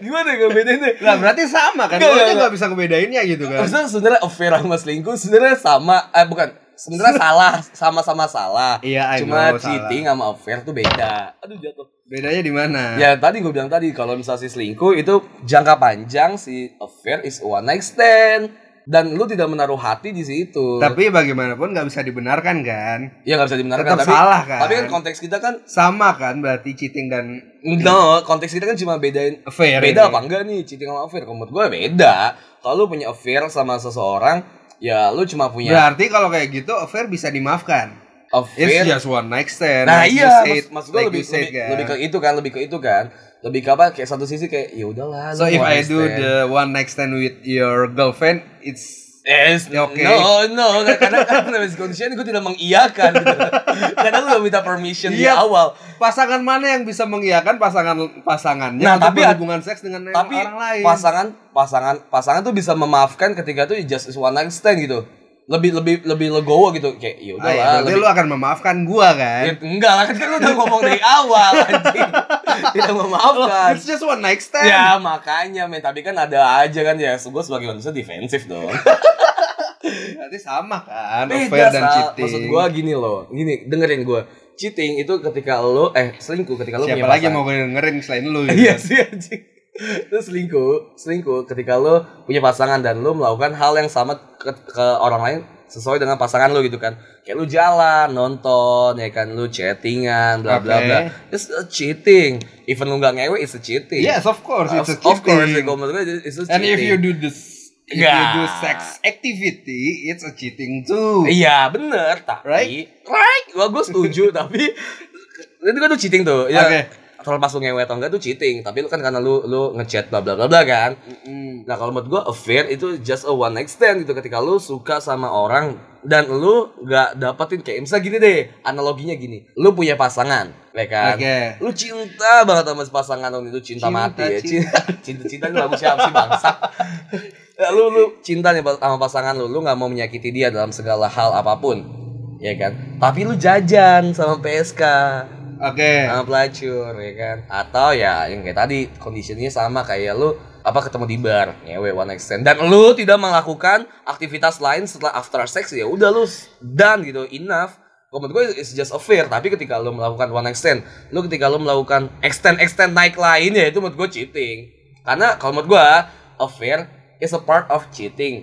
Speaker 1: gimana ya nggak bedainnya
Speaker 2: Lah berarti sama kan?
Speaker 1: Enggak,
Speaker 2: Lu aja
Speaker 1: enggak.
Speaker 2: enggak bisa ngebedainnya gitu kan.
Speaker 1: Maksudnya sebenarnya affair sama selingkuh sebenarnya sama eh bukan
Speaker 2: <laughs>
Speaker 1: sebenarnya salah sama-sama salah.
Speaker 2: Iya, I
Speaker 1: Cuma
Speaker 2: know, salah. Nah.
Speaker 1: cheating sama affair tuh beda. Aduh jatuh.
Speaker 2: <laughs> Bedanya di mana?
Speaker 1: Ya tadi gue bilang tadi kalau misalnya si selingkuh itu jangka panjang si affair is a one night stand dan lu tidak menaruh hati di situ.
Speaker 2: Tapi bagaimanapun nggak bisa dibenarkan kan?
Speaker 1: ya nggak bisa dibenarkan
Speaker 2: tetap
Speaker 1: tapi
Speaker 2: salah kan?
Speaker 1: Tapi kan konteks kita kan
Speaker 2: Sama kan berarti cheating dan
Speaker 1: no, konteks kita kan cuma bedain
Speaker 2: affair.
Speaker 1: beda
Speaker 2: ini.
Speaker 1: apa enggak nih cheating sama affair? Kalau menurut gue beda. Kalau lu punya affair sama seseorang, ya lu cuma punya
Speaker 2: Berarti kalau kayak gitu affair bisa dimaafkan.
Speaker 1: affair
Speaker 2: It's just one night stand.
Speaker 1: Nah
Speaker 2: like
Speaker 1: iya,
Speaker 2: you said-
Speaker 1: maksud, maksud gue
Speaker 2: like
Speaker 1: lebih,
Speaker 2: you said,
Speaker 1: lebih,
Speaker 2: kan?
Speaker 1: lebih ke itu kan, lebih ke itu kan, lebih ke apa? Kayak satu sisi kayak ya udahlah.
Speaker 2: So
Speaker 1: lu
Speaker 2: if
Speaker 1: mau
Speaker 2: I do
Speaker 1: understand."
Speaker 2: the one night stand with your girlfriend, it's
Speaker 1: Yes,
Speaker 2: Ya, oke.
Speaker 1: no, no, nggak, karena kan <laughs> karena terms condition gue tidak mengiyakan, <laughs> gitu. karena lu udah minta permission di
Speaker 2: Iya.
Speaker 1: awal.
Speaker 2: pasangan mana yang bisa mengiyakan pasangan pasangannya
Speaker 1: Nah,
Speaker 2: untuk
Speaker 1: tapi-
Speaker 2: berhubungan seks dengan
Speaker 1: Tapi
Speaker 2: orang lain?
Speaker 1: pasangan, pasangan, pasangan tuh bisa memaafkan ketika tuh it just is one night stand gitu. lebih lebih lebih legowo gitu kayak ya
Speaker 2: Ah, ya,
Speaker 1: udahlah
Speaker 2: berarti
Speaker 1: lebih-
Speaker 2: lu akan memaafkan gua kan?
Speaker 1: Ya, enggak lah kan kan lu udah ngomong dari awal
Speaker 2: <laughs>
Speaker 1: anjing. Tidak memaafkan.
Speaker 2: It's just one night stand.
Speaker 1: Ya makanya men tapi kan ada aja kan ya gue sebagai manusia defensif
Speaker 2: <laughs>
Speaker 1: dong.
Speaker 2: Berarti sama kan,
Speaker 1: Beda
Speaker 2: affair dan
Speaker 1: Sal.
Speaker 2: cheating.
Speaker 1: Maksud gue gini loh, gini dengerin gue. Cheating itu ketika lo eh selingkuh ketika lo
Speaker 2: Siapa
Speaker 1: punya
Speaker 2: lagi
Speaker 1: pasangan. <laughs>
Speaker 2: yang mau gue dengerin selain lu? gitu?
Speaker 1: Iya sih anjing. Itu selingkuh, selingkuh ketika lo punya pasangan dan lo melakukan hal yang sama ke, ke orang lain sesuai dengan pasangan lo gitu kan. Kayak lo jalan, nonton, ya kan lo chattingan, bla bla
Speaker 2: Oke.
Speaker 1: bla. It's a cheating. Even lo nggak ngewe, it's a cheating.
Speaker 2: Yes, of course,
Speaker 1: of,
Speaker 2: it's a
Speaker 1: of course,
Speaker 2: cheating.
Speaker 1: gue menurut gue it's a
Speaker 2: And if
Speaker 1: cheating.
Speaker 2: you do this, if
Speaker 1: Yeah.
Speaker 2: you do sex activity, it's a cheating too.
Speaker 1: Iya bener, tapi
Speaker 2: Right?
Speaker 1: right, gua gua setuju <laughs> tapi itu kan tuh cheating tuh. Ya,
Speaker 2: Oke.
Speaker 1: Terlepas lu ngewe atau enggak tuh cheating, tapi lu kan karena lu lu ngechat bla bla bla bla kan.
Speaker 2: Mm.
Speaker 1: Nah kalau menurut gue affair itu just a one night stand gitu ketika lu suka sama orang dan lu nggak dapetin kayak misalnya gini deh analoginya gini lu punya pasangan ya kan
Speaker 2: Oke.
Speaker 1: lu cinta banget sama si pasangan lu itu cinta,
Speaker 2: Cinta,
Speaker 1: mati ya <laughs> cinta cinta cinta itu lagu siapa sih bangsa Ya, lu lu cinta nih sama pasangan lu lu nggak mau menyakiti dia dalam segala hal apapun ya kan tapi lu jajan sama PSK
Speaker 2: Oke.
Speaker 1: sama pelacur ya kan atau ya yang kayak tadi kondisinya sama kayak lu apa ketemu di bar ngewe one night stand dan lu tidak melakukan aktivitas lain setelah after sex ya udah lu done gitu enough Kalau menurut gue it's just a fair tapi ketika lu melakukan one night stand lu ketika lu melakukan extend extend naik lain ya itu menurut gue cheating karena kalau menurut gue a fair is a part of cheating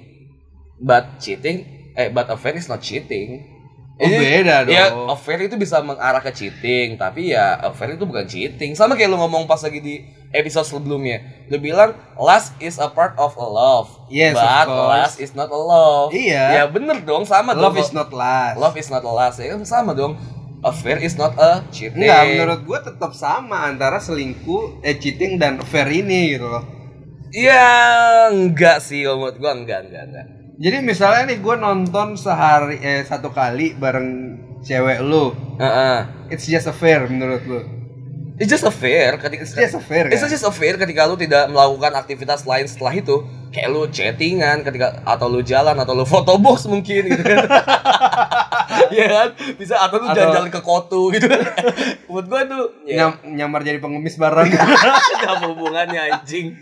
Speaker 1: but cheating eh but a fair is not cheating
Speaker 2: Oh, beda dong.
Speaker 1: Ya, affair itu bisa mengarah ke cheating, tapi ya affair itu bukan cheating. Sama kayak lu ngomong pas lagi di episode sebelumnya. Lu bilang lust is a part of a love.
Speaker 2: Yes, of
Speaker 1: but
Speaker 2: course.
Speaker 1: lust is not a love. Ya
Speaker 2: Iya.
Speaker 1: bener dong, sama
Speaker 2: Love
Speaker 1: dong.
Speaker 2: is not last.
Speaker 1: love is not a lust. Ya kan sama dong. Affair is not a cheating.
Speaker 2: Enggak, menurut gue tetap sama antara selingkuh, eh cheating dan affair ini gitu loh.
Speaker 1: Iya, enggak sih kalau menurut gua enggak enggak enggak.
Speaker 2: Jadi misalnya nih gue nonton sehari eh satu kali bareng cewek lu,
Speaker 1: Heeh.
Speaker 2: it's just affair menurut lu.
Speaker 1: It's just affair ketika
Speaker 2: It's just affair kan?
Speaker 1: It's just a fair ya? ketika lu tidak melakukan aktivitas lain setelah itu kayak lu chattingan ketika atau lu jalan atau lu foto box mungkin gitu kan <laughs> Iya kan bisa atau lu
Speaker 2: Atau-
Speaker 1: jalan-jalan ke kotu gitu kan buat gua tuh ya
Speaker 2: Nyam- nyamar jadi pengemis bareng.
Speaker 1: <laughs> Iya. ada hubungannya anjing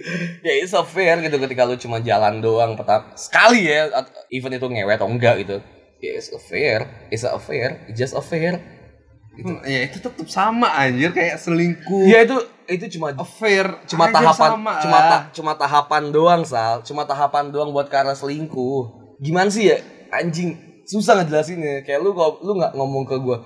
Speaker 1: ya it's a fair gitu ketika lu cuma jalan doang pertama sekali ya at- even itu ngewe atau enggak gitu ya it's a fair it's a fair it's just a fair
Speaker 2: Hmm, ya <laughs> itu tetap sama anjir kayak selingkuh.
Speaker 1: ya itu itu cuma
Speaker 2: Affair
Speaker 1: cuma
Speaker 2: aja
Speaker 1: tahapan
Speaker 2: sama eh. ah.
Speaker 1: cuma
Speaker 2: lah.
Speaker 1: ta- cuma tahapan doang sal cuma tahapan doang buat karena selingkuh gimana sih ya anjing susah ngejelasinnya kayak lu kalau- lu nggak ngomong ke gua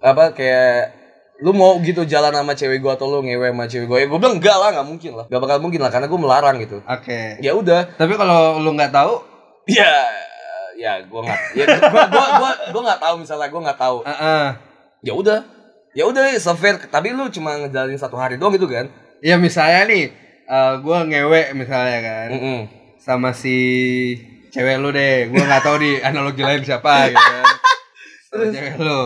Speaker 1: apa kayak lu mau gitu jalan sama cewek gua atau lu ngewe sama cewek gua ya gua bilang enggak lah nggak mungkin lah nggak bakal mungkin lah karena gua melarang gitu
Speaker 2: Oke.
Speaker 1: ya udah
Speaker 2: Tapi kalau lu nggak tahu,
Speaker 1: ya ya gua nggak ya gua gua gua gua nggak tahu misalnya gua nggak tahu
Speaker 2: ah, ah.
Speaker 1: ya udah ya udah it's a fair tapi lu cuma ngejalanin satu hari doang gitu kan
Speaker 2: ya misalnya nih, eh, gue ngewe misalnya kan
Speaker 1: Mm-mm.
Speaker 2: sama si cewek lu deh. Gue nggak tahu di analogi lain siapa gitu
Speaker 1: <laughs>
Speaker 2: kan. Sama cewek lu.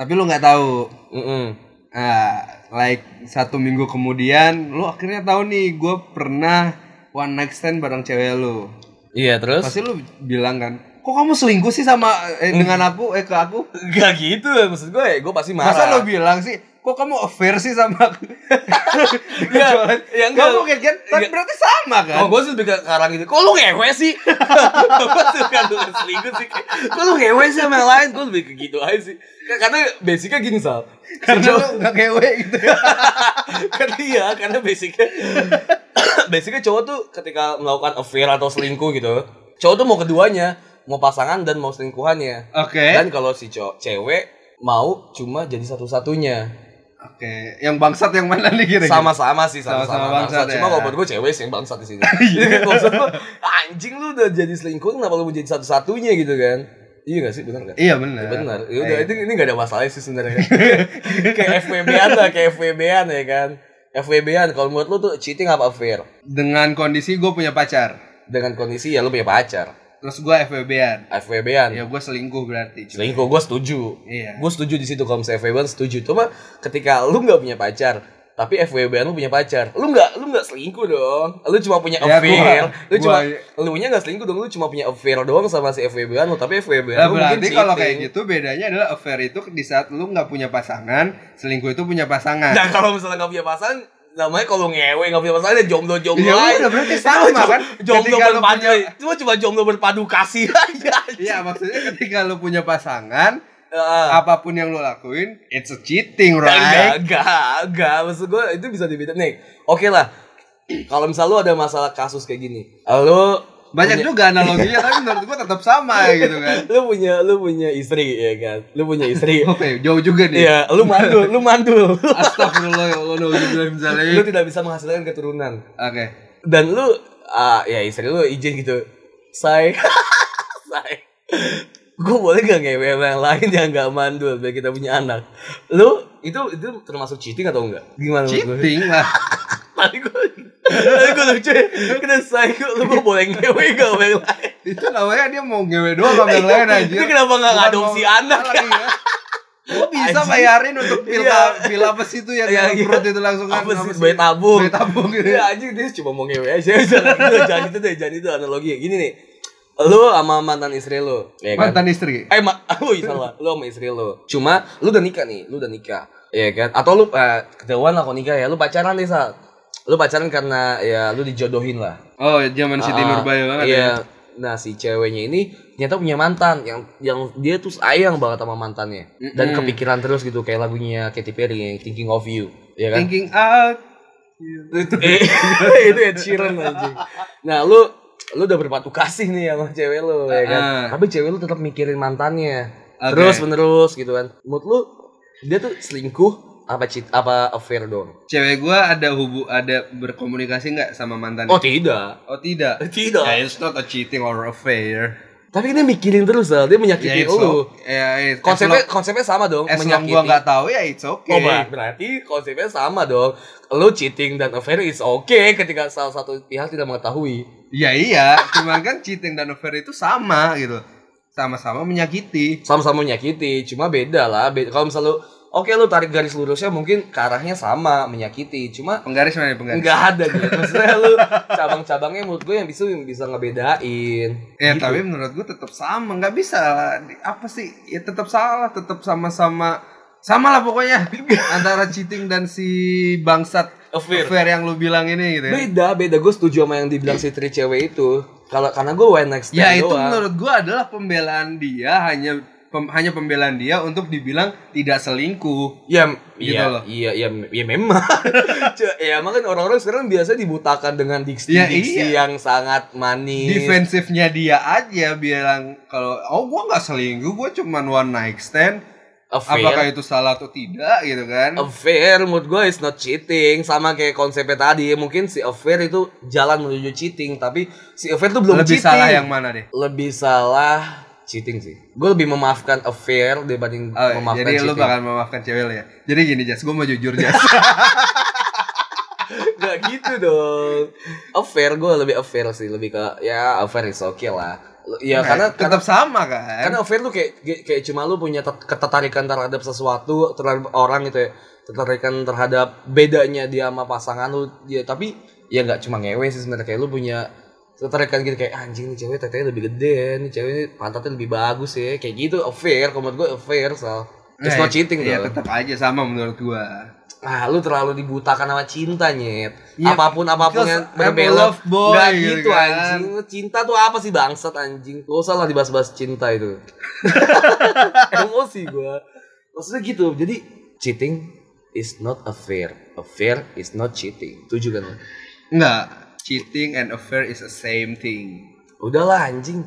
Speaker 2: Tapi lu nggak tahu.
Speaker 1: Mm-mm.
Speaker 2: Ah, like satu minggu kemudian, lu akhirnya tahu nih gue pernah one night stand bareng cewek lu.
Speaker 1: iya terus
Speaker 2: Pasti lu bilang kan, kok kamu selingkuh sih sama eh, dengan aku, eh ke aku?
Speaker 1: Gak gitu maksud gue, gue pasti marah.
Speaker 2: Masa lu bilang sih, kok kamu affair sih sama
Speaker 1: <laughs>
Speaker 2: aku?
Speaker 1: Iya,
Speaker 2: Kecuali-
Speaker 1: iya,
Speaker 2: Nggak
Speaker 1: enggak.
Speaker 2: mungkin kan? Tapi
Speaker 1: Iya.
Speaker 2: berarti sama kan?
Speaker 1: Kalau gue sih lebih ke ke arah gitu. Kok lu ngewe sih? <laughs> gue suka lu selingkuh sih. kayak, Kok lu ngewe sih sama yang lain? Gue lebih ke gitu aja sih. Ka- Karena basicnya gini Sal. <laughs>
Speaker 2: Karena
Speaker 1: Sejauh-
Speaker 2: lu gak ngewe
Speaker 1: <laughs>
Speaker 2: gitu.
Speaker 1: karena iya, karena basicnya <coughs> basicnya cowok tuh ketika melakukan affair atau selingkuh gitu, cowok tuh mau keduanya, mau pasangan dan mau selingkuhannya.
Speaker 2: Oke.
Speaker 1: Dan kalau si cowok cewek mau cuma jadi satu-satunya.
Speaker 2: Oke, yang bangsat yang mana nih kira-kira?
Speaker 1: sama-sama sih sama-sama
Speaker 2: Sama-sama
Speaker 1: bangsa.
Speaker 2: bangsat
Speaker 1: Cuma
Speaker 2: ya.
Speaker 1: kalau buat gue cewek sih yang bangsat
Speaker 2: <laughs>
Speaker 1: di sini. Iya. Maksud gue anjing lu udah jadi selingkuh kenapa lu menjadi satu-satunya gitu kan? Iya gak sih benar gak?
Speaker 2: Iya benar.
Speaker 1: Benar. Ya udah itu ini gak ada masalah sih
Speaker 2: <laughs>
Speaker 1: sebenarnya. kayak FWB-an lah, kayak FWB-an ya kan. FWB-an kalau menurut lu tuh cheating apa affair?
Speaker 2: Dengan kondisi gue punya pacar,
Speaker 1: Dengan kondisi ya lu punya pacar.
Speaker 2: terus gue FWB-an.
Speaker 1: FWB-an.
Speaker 2: Ya gue selingkuh berarti.
Speaker 1: Selingkuh gue setuju.
Speaker 2: Iya.
Speaker 1: Gue setuju di situ kalau misalnya FWB-an setuju. Cuma ketika lu nggak punya pacar, tapi FWB lu punya pacar lu nggak lu nggak selingkuh dong lu cuma punya
Speaker 2: Ya,
Speaker 1: affair
Speaker 2: gua- ya.
Speaker 1: lu cuma
Speaker 2: gua-
Speaker 1: lu nya nggak selingkuh dong lu cuma punya affair doang sama si FWB lu tapi FWB
Speaker 2: Nah,
Speaker 1: lu
Speaker 2: berarti
Speaker 1: mungkin
Speaker 2: kalau
Speaker 1: cheating.
Speaker 2: kayak gitu bedanya adalah affair itu di saat lu nggak punya pasangan, selingkuh itu punya pasangan.
Speaker 1: dan Nah, kalau misalnya nggak punya pasangan namanya kalau ngewe nggak punya pasangan ya jomblo jomblo
Speaker 2: <laughs> Ya udah, berarti
Speaker 1: <laughs>
Speaker 2: sama kan?
Speaker 1: jomblo
Speaker 2: Ketika lu
Speaker 1: berpadu
Speaker 2: punya-
Speaker 1: cuma cuma jomblo berpadu kasih aja Ah.
Speaker 2: Iya, maksudnya ketika lu punya pasangan,
Speaker 1: Heeh.
Speaker 2: apapun yang lu lakuin, it's a cheating,
Speaker 1: Enggak,
Speaker 2: right?
Speaker 1: enggak, enggak. Maksud gue itu bisa dibilang nih. Oke lah. Kalau misal lu ada masalah kasus kayak gini, lu
Speaker 2: Banyak juga analoginya, tapi menurut gua tetap
Speaker 1: <laughs>
Speaker 2: sama gitu kan.
Speaker 1: lu punya lu punya istri ya kan. Lu punya
Speaker 2: <laughs>
Speaker 1: istri.
Speaker 2: Oke, jauh juga nih.
Speaker 1: Iya, lu mandul, lu mandul.
Speaker 2: Astagfirullah ya Allah, nauzubillah
Speaker 1: lu
Speaker 2: Oke.
Speaker 1: tidak bisa menghasilkan keturunan. Dan lu ah ya istri lu izin gitu. Say. <laughs> Say. Gue boleh gak ngewe sama yang lain yang gak mandul biar kita punya anak. Lu itu itu termasuk cheating atau enggak? Gimana menurut lu?
Speaker 2: Cheating lah.
Speaker 1: Tadi gue Tadi gue lucu ya Kena psycho Lu mau boleh ngewe gak sama yang lain
Speaker 2: Itu namanya dia mau ngewe doang sama yang lain anjir.
Speaker 1: Dia kenapa nggak
Speaker 2: Bukan
Speaker 1: ngadopsi
Speaker 2: mau-
Speaker 1: anak
Speaker 2: Salah, iya. Lu bisa
Speaker 1: Anjir.
Speaker 2: bayarin untuk pil
Speaker 1: Iya.
Speaker 2: pil apa sih itu yang
Speaker 1: Iya,
Speaker 2: dalam
Speaker 1: iya.
Speaker 2: perut itu langsung kan,
Speaker 1: Apa sih bayi tabung
Speaker 2: Bayi tabung gitu.
Speaker 1: Ya anjing dia cuma mau ngewe aja Jangan itu Jangan itu deh Jangan itu analogi Gini nih Lu sama mantan istri lu ya kan?
Speaker 2: Mantan istri.
Speaker 1: Eh ma Oh iya salah Lu sama istri lu Cuma Lu udah nikah nih Lu udah nikah Iya kan Atau lu eh, ketahuan lah kalau nikah ya Lu pacaran nih Sal Lu pacaran karena Ya lu dijodohin lah
Speaker 2: Oh, zaman Siti
Speaker 1: Ah,
Speaker 2: Nurbaya banget
Speaker 1: iya.
Speaker 2: ya.
Speaker 1: Nah, si ceweknya ini ternyata punya mantan yang yang dia tuh sayang banget sama mantannya. Dan kepikiran terus gitu kayak lagunya Katy Perry yang Thinking of You, ya kan?
Speaker 2: Thinking out. <laughs> Itu
Speaker 1: Eh, <laughs> itu ya Sheeran anjing. Nah, lu lu udah berpatu kasih nih sama cewek lu, ya kan?
Speaker 2: Ah.
Speaker 1: Tapi cewek lu tetap mikirin mantannya.
Speaker 2: Oke.
Speaker 1: Terus menerus gitu kan. Menurut lu dia tuh selingkuh apa cheat apa affair doang?
Speaker 2: cewek gua ada hubu ada berkomunikasi nggak sama mantan?
Speaker 1: Oh, tidak.
Speaker 2: Oh, tidak.
Speaker 1: Tidak.
Speaker 2: Ya, it's not a cheating or affair.
Speaker 1: Tapi dia mikirin terus, Zal. dia
Speaker 2: Ya,
Speaker 1: menyakiti
Speaker 2: it's
Speaker 1: lu.
Speaker 2: o- ya,
Speaker 1: Eh,
Speaker 2: it's-
Speaker 1: Konsepnya konsepnya sama dong,
Speaker 2: as long, as long gua nggak tahu ya it's okay.
Speaker 1: Oh, ber- berarti konsepnya sama dong. Lu cheating dan affair is okay ketika salah satu pihak tidak mengetahui.
Speaker 2: Ya iya, cuman kan cheating dan affair itu sama gitu. Sama-sama menyakiti.
Speaker 1: Sama-sama menyakiti, cuma beda lah. Be- Kalau misalnya lu oke lu tarik garis lurusnya mungkin ke arahnya sama menyakiti, cuma
Speaker 2: Penggaris mana nih, penggaris?
Speaker 1: nggak ada gitu. Maksudnya lu cabang-cabangnya menurut gue yang bisa yang bisa ngebedain.
Speaker 2: Ya tapi menurut gue tetap sama, nggak bisa lah. Di- Apa sih? Ya tetap salah, tetap sama-sama sama lah <laughs> pokoknya antara cheating dan si bangsat
Speaker 1: Affair.
Speaker 2: yang lu bilang ini gitu ya.
Speaker 1: Beda, beda. Gue setuju sama yang dibilang si tri cewek itu. Kalau karena gue why next
Speaker 2: Ya
Speaker 1: time
Speaker 2: itu
Speaker 1: doang.
Speaker 2: menurut gue adalah pembelaan dia hanya pem- hanya pembelaan dia untuk dibilang tidak selingkuh.
Speaker 1: Ya,
Speaker 2: Gitu
Speaker 1: iya,
Speaker 2: loh.
Speaker 1: iya, iya, iya, memang. <laughs> Cu- ya, emang kan orang-orang sekarang biasa dibutakan dengan diksi-diksi
Speaker 2: Ya,
Speaker 1: yang sangat manis.
Speaker 2: Defensifnya dia aja bilang kalau oh gue nggak selingkuh, gue cuman one night stand. Apakah
Speaker 1: affair.
Speaker 2: itu salah atau tidak gitu kan?
Speaker 1: Affair menurut gue is not cheating sama kayak konsepnya tadi mungkin si affair itu jalan menuju cheating tapi si affair tuh belum
Speaker 2: Lebih
Speaker 1: cheating
Speaker 2: salah yang mana deh?
Speaker 1: lebih salah cheating sih gue lebih memaafkan affair dibanding
Speaker 2: Oh,
Speaker 1: memaafkan
Speaker 2: jadi lu
Speaker 1: cheating <laughs>
Speaker 2: bakal memaafkan cewek lu ya. Jadi gini Jas, gue mau jujur Jas.
Speaker 1: Gak gitu dong affair gue lebih affair sih lebih ke ya affair is okay lah ya <laughs> karena
Speaker 2: tetap sama kan.
Speaker 1: Karena affair tuh kayak kayak- kayak cuma lu punya tet- ketertarikan terhadap sesuatu, terhadap orang gitu ya. Ketertarikan terhadap bedanya dia sama pasangan lu. Ya, tapi ya nggak cuma ngewe sih sebenarnya kayak lu punya ketertarikan gitu kayak anjing nih cewek tetenya lebih gede, ya, nih cewek ini pantatnya lebih bagus ya. Kayak gitu affair, kalau menurut gue affair soal Kan It's not cheating
Speaker 2: ya,
Speaker 1: dong.
Speaker 2: tetap aja sama menurut gua.
Speaker 1: Ah, lu terlalu dibutakan sama cinta, Nyet.
Speaker 2: Iya,
Speaker 1: apapun apapun
Speaker 2: because
Speaker 1: yang
Speaker 2: I'm a
Speaker 1: berbelok.
Speaker 2: love boy,
Speaker 1: Nggak
Speaker 2: gitu
Speaker 1: gitu
Speaker 2: kan.
Speaker 1: anjing. Lu Cinta tuh apa sih bangsat anjing? Gak usah lah dibahas-bahas cinta
Speaker 2: <laughs>
Speaker 1: itu. Emosi gua. Maksudnya gitu. Jadi cheating is not affair. Affair is not cheating. Itu juga kan? lu?
Speaker 2: Enggak, cheating and affair is the same thing.
Speaker 1: Udahlah anjing.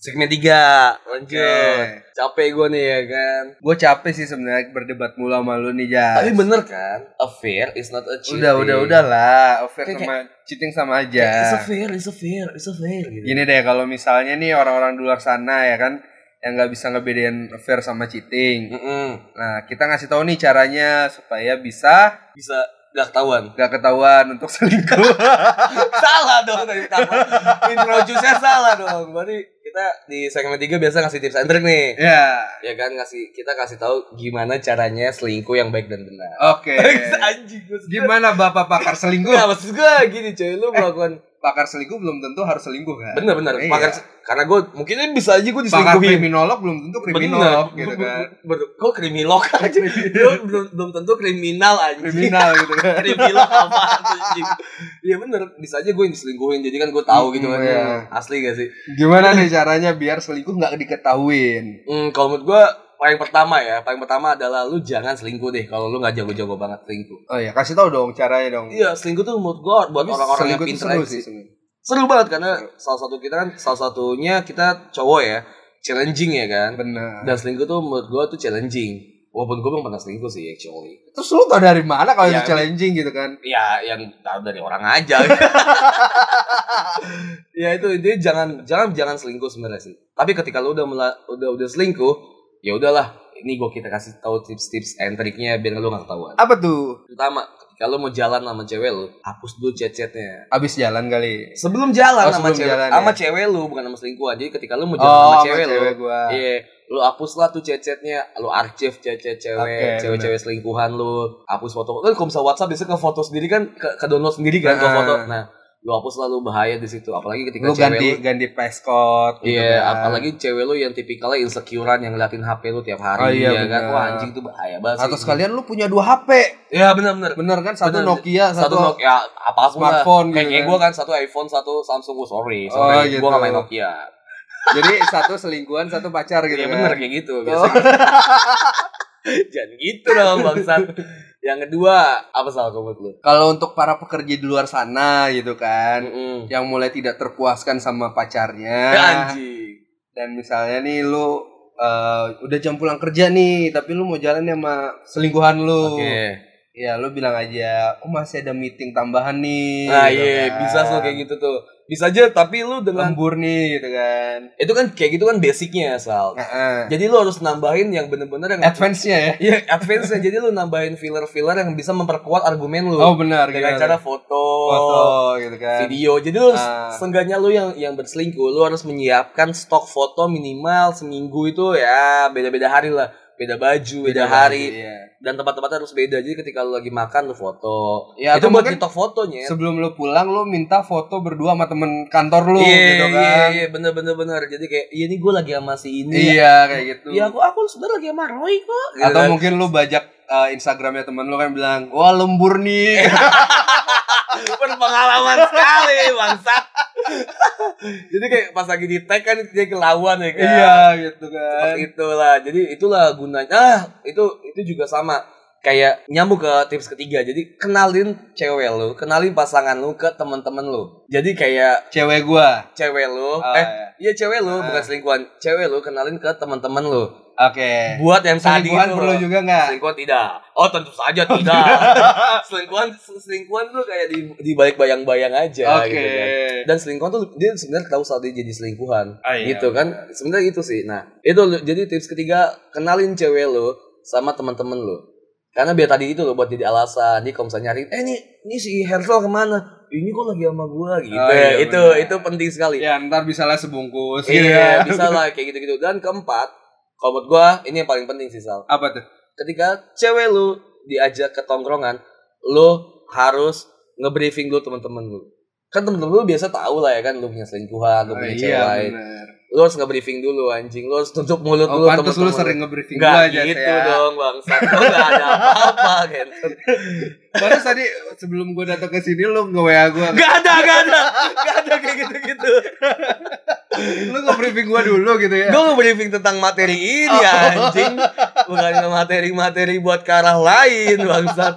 Speaker 1: Segmen 3, lanjut.
Speaker 2: Oke.
Speaker 1: Capek gua nih ya kan.
Speaker 2: Gue Eh, capek sih sebenarnya berdebat mulu sama lu nih Jas.
Speaker 1: Tapi bener kan? Affair is not a cheating.
Speaker 2: udah, udah, udah lah. Affair
Speaker 1: Kayak-
Speaker 2: sama cheating sama aja.
Speaker 1: It's a fair, it's a fair, it's a fair gitu.
Speaker 2: Nah. Gini deh, kalau misalnya nih orang-orang di luar sana ya kan yang nggak bisa ngebedain affair sama cheating.
Speaker 1: Mm-mm.
Speaker 2: Nah, kita ngasih tahu nih caranya supaya bisa
Speaker 1: Bisa gak <laughs> ketahuan.
Speaker 2: nggak ketahuan untuk selingkuh. <laughs>
Speaker 1: salah dong tadi pertama. Introduce-nya salah dong. Berarti kita di segmen 3 biasa ngasih tips and trick nih.
Speaker 2: Ya.
Speaker 1: Ya kan ngasih kita kasih tahu gimana caranya selingkuh yang baik dan benar. <laughs>
Speaker 2: Oke.
Speaker 1: Anjing gue sedih.
Speaker 2: Gimana Bapak pakar selingkuh?
Speaker 1: Nggak, maksud gue gini cuy, lu melakukan
Speaker 2: Pakar selingkuh belum tentu harus selingkuh kan?
Speaker 1: bener-bener
Speaker 2: Iya.
Speaker 1: pakar karena gue mungkin bisa aja gue
Speaker 2: Pakar
Speaker 1: diselingkuhin.
Speaker 2: kriminolog belum tentu kriminolog gitu kan.
Speaker 1: Ber- kok kriminolog aja? Dia belum belum tentu kriminal anjing.
Speaker 2: Kriminal gitu kan.
Speaker 1: Kriminal apa anjing? Iya bener, bisa aja gue yang diselingkuhin. Jadi kan gue tahu gitu kan.
Speaker 2: Hmm, iya.
Speaker 1: Asli gak sih?
Speaker 2: Gimana nih caranya biar selingkuh nggak diketahuin?
Speaker 1: Hmm, kalau menurut gue paling pertama ya, paling pertama adalah lu jangan selingkuh deh kalau lu nggak jago-jago banget selingkuh.
Speaker 2: Oh ya, kasih tahu dong caranya dong.
Speaker 1: Iya, selingkuh tuh menurut gue buat
Speaker 2: Tapi
Speaker 1: orang-orang yang
Speaker 2: selingkuh tuh
Speaker 1: pintar
Speaker 2: seru
Speaker 1: aja
Speaker 2: sih.
Speaker 1: Seru banget karena salah satu kita kan salah satunya kita cowok ya, challenging ya kan.
Speaker 2: Benar.
Speaker 1: Dan selingkuh tuh menurut gue tuh challenging. Walaupun gue belum pernah selingkuh sih actually.
Speaker 2: Terus lu tau dari mana kalau
Speaker 1: Ya,
Speaker 2: itu challenging gitu kan?
Speaker 1: ya yang tahu dari orang
Speaker 2: <laughs>
Speaker 1: aja ya itu intinya jangan jangan jangan selingkuh sebenarnya sih tapi ketika lu udah mela- udah udah selingkuh ya udahlah ini gue kita kasih tahu tips-tips and triknya biar lu gak ketahuan
Speaker 2: Apa tuh?
Speaker 1: pertama ketika lu mau jalan sama cewek lu hapus dulu chat-chatnya
Speaker 2: Abis jalan kali.
Speaker 1: sebelum jalan
Speaker 2: Oh,
Speaker 1: sama
Speaker 2: sebelum
Speaker 1: cewek
Speaker 2: jalan, ya. Oh,
Speaker 1: sama cewek lu bukan sama selingkuhan jadi ketika lu mau jalan sama cewek lu
Speaker 2: gua.
Speaker 1: Iya, lu hapus lah tuh cecetnya, lu arsip cecet cewek,
Speaker 2: Oke,
Speaker 1: cewek-cewek selingkuhan lu, hapus foto. Kan kalau bisa WhatsApp biasanya ke foto sendiri kan ke, ke download sendiri kan ke
Speaker 2: Ah.
Speaker 1: foto. Nah, lu hapus lah lu bahaya di situ, apalagi ketika
Speaker 2: Lu
Speaker 1: cewek
Speaker 2: ganti
Speaker 1: lu
Speaker 2: ganti passcode gitu
Speaker 1: Iya,
Speaker 2: kan.
Speaker 1: apalagi cewek lu yang tipikalnya insecurean yang ngeliatin HP lu tiap hari
Speaker 2: Oh, iya,
Speaker 1: ya kan.
Speaker 2: benar.
Speaker 1: Wah, anjing tuh bahaya banget. sih.
Speaker 2: atau sekalian lu punya dua HP.
Speaker 1: Ya, benar-benar.
Speaker 2: Bener kan satu
Speaker 1: Bener.
Speaker 2: Nokia,
Speaker 1: Satu, Nokia, apa
Speaker 2: smartphone
Speaker 1: Kayak,
Speaker 2: gitu
Speaker 1: kayak
Speaker 2: kan.
Speaker 1: gue kan satu iPhone, satu Samsung. Oh, sorry,
Speaker 2: Oh,
Speaker 1: sorry.
Speaker 2: gitu.
Speaker 1: Gue gak main Nokia.
Speaker 2: <laughs> Jadi satu selingkuhan, satu pacar gitu
Speaker 1: Iya
Speaker 2: kan.
Speaker 1: bener kayak gitu.
Speaker 2: Oh.
Speaker 1: <laughs> biasanya. Jangan gitu dong bangsat. Yang kedua, apa salah kamu lu?
Speaker 2: Kalau untuk para pekerja di luar sana gitu kan,
Speaker 1: Mm-mm.
Speaker 2: yang mulai tidak terpuaskan sama pacarnya.
Speaker 1: Ya, anjing.
Speaker 2: Dan misalnya nih lu eh, udah jam pulang kerja nih, tapi lu mau jalan sama selingkuhan lu.
Speaker 1: Oke.
Speaker 2: Ya lu bilang aja, "Oh, masih ada meeting tambahan nih."
Speaker 1: Nah,
Speaker 2: gitu
Speaker 1: iya,
Speaker 2: kan.
Speaker 1: bisa tuh kayak gitu tuh. Bisa aja tapi lu dengan
Speaker 2: Lembur nih gitu kan.
Speaker 1: itu kan kayak gitu kan basicnya Sal.
Speaker 2: Heeh.
Speaker 1: Jadi lu harus nambahin yang bener-bener yang
Speaker 2: Advance-nya ya.
Speaker 1: Iya, advance Jadi lu nambahin filler-filler yang bisa memperkuat argumen lu.
Speaker 2: Oh benar
Speaker 1: dengan
Speaker 2: gitu.
Speaker 1: cara iya, foto,
Speaker 2: foto gitu kan.
Speaker 1: video. Jadi lu
Speaker 2: Ah.
Speaker 1: seenggaknya lu yang yang berselingkuh, lu harus menyiapkan stok foto minimal seminggu itu ya beda-beda hari lah, beda baju, beda, hari
Speaker 2: Iya.
Speaker 1: dan tempat-tempatnya harus beda. Jadi ketika lu lagi makan lu foto.
Speaker 2: Ya,
Speaker 1: itu
Speaker 2: atau
Speaker 1: buat
Speaker 2: mungkin
Speaker 1: nyetok fotonya.
Speaker 2: iya. Sebelum lu pulang lu minta foto berdua sama temen kantor lu
Speaker 1: Iya,
Speaker 2: gitu kan.
Speaker 1: iya, iya, bener bener bener. Jadi kayak, iya nih gue lagi sama si ini.
Speaker 2: Iya kayak gitu.
Speaker 1: Ya aku aku sebenarnya lagi sama Roy
Speaker 2: <laughs>
Speaker 1: kok. Gitu
Speaker 2: Atau
Speaker 1: kan.
Speaker 2: mungkin lu bajak eh, Instagramnya temen lu kan bilang, wah lembur nih.
Speaker 1: Iya. berpengalaman sekali bangsat. <laughs> Jadi kayak pas lagi di tag kan dia kelawan ya kan.
Speaker 2: <laughs> iya gitu
Speaker 1: Seperti
Speaker 2: kan.
Speaker 1: itulah. Jadi itulah gunanya. Ah, itu itu juga sama kayak nyambung ke tips ketiga. Jadi kenalin cewek lu, kenalin pasangan lu ke teman-teman lu. Jadi kayak
Speaker 2: Cewek gua.
Speaker 1: cewek lu,
Speaker 2: Ah,
Speaker 1: eh iya
Speaker 2: iya.
Speaker 1: cewek lu,
Speaker 2: Ah.
Speaker 1: bukan selingkuhan. Cewek lu kenalin ke teman-teman lu.
Speaker 2: Oke.
Speaker 1: Buat yang tadi gitu.
Speaker 2: Selingkuhan
Speaker 1: itu.
Speaker 2: perlu
Speaker 1: loh.
Speaker 2: juga nggak?
Speaker 1: Selingkuhan tidak. Oh, tentu
Speaker 2: <laughs>
Speaker 1: saja tidak. selingkuhan selingkuhan tuh kayak di di balik bayang-bayang aja
Speaker 2: Oke.
Speaker 1: gitu kan dan selingkuhan tuh dia sebenarnya tahu saat dia jadi selingkuhan
Speaker 2: Ah, iya,
Speaker 1: gitu kan sebenarnya itu sih nah itu lu- jadi tips ketiga kenalin cewek lo sama teman-teman lo karena biar tadi itu lo buat jadi alasan dia kalau misalnya nyari eh ini ini si Hersel kemana ini kok lagi sama gua gitu
Speaker 2: Oh, iya,
Speaker 1: itu
Speaker 2: benar.
Speaker 1: itu penting sekali
Speaker 2: Ya ntar bisa lah sebungkus.
Speaker 1: iya
Speaker 2: gitu kan.
Speaker 1: bisa lah kayak gitu-gitu dan keempat kalau menurut gua ini yang paling penting sih Sal
Speaker 2: Apa tuh?
Speaker 1: ketika cewek lu diajak ke tongkrongan, lu harus ngebriefing dulu teman-teman lu. Kan temen-temen lu biasa tahu lah ya kan lu punya selingkuhan, lu
Speaker 2: Oh,
Speaker 1: punya cewek
Speaker 2: iya
Speaker 1: lain.
Speaker 2: benar.
Speaker 1: Lu harus ngebriefing dulu anjing, lu harus tutup mulut
Speaker 2: Oh,
Speaker 1: dulu
Speaker 2: pantas lu
Speaker 1: temen-temen
Speaker 2: sering ya, ngebriefing
Speaker 1: Nggak
Speaker 2: gua aja
Speaker 1: gitu
Speaker 2: Sya.
Speaker 1: dong bang, satu nggak ada apa-apa gitu.
Speaker 2: Pantes tadi sebelum gua datang ke sini lu nge-WA gua.
Speaker 1: Gak ada, gak ada, gak ada kayak gitu-gitu.
Speaker 2: lu nge-briefing gua dulu gitu ya.
Speaker 1: Gue ngebriefing tentang materi ini
Speaker 2: Oh.
Speaker 1: anjing, bukan ke materi-materi buat ke arah lain bangsat.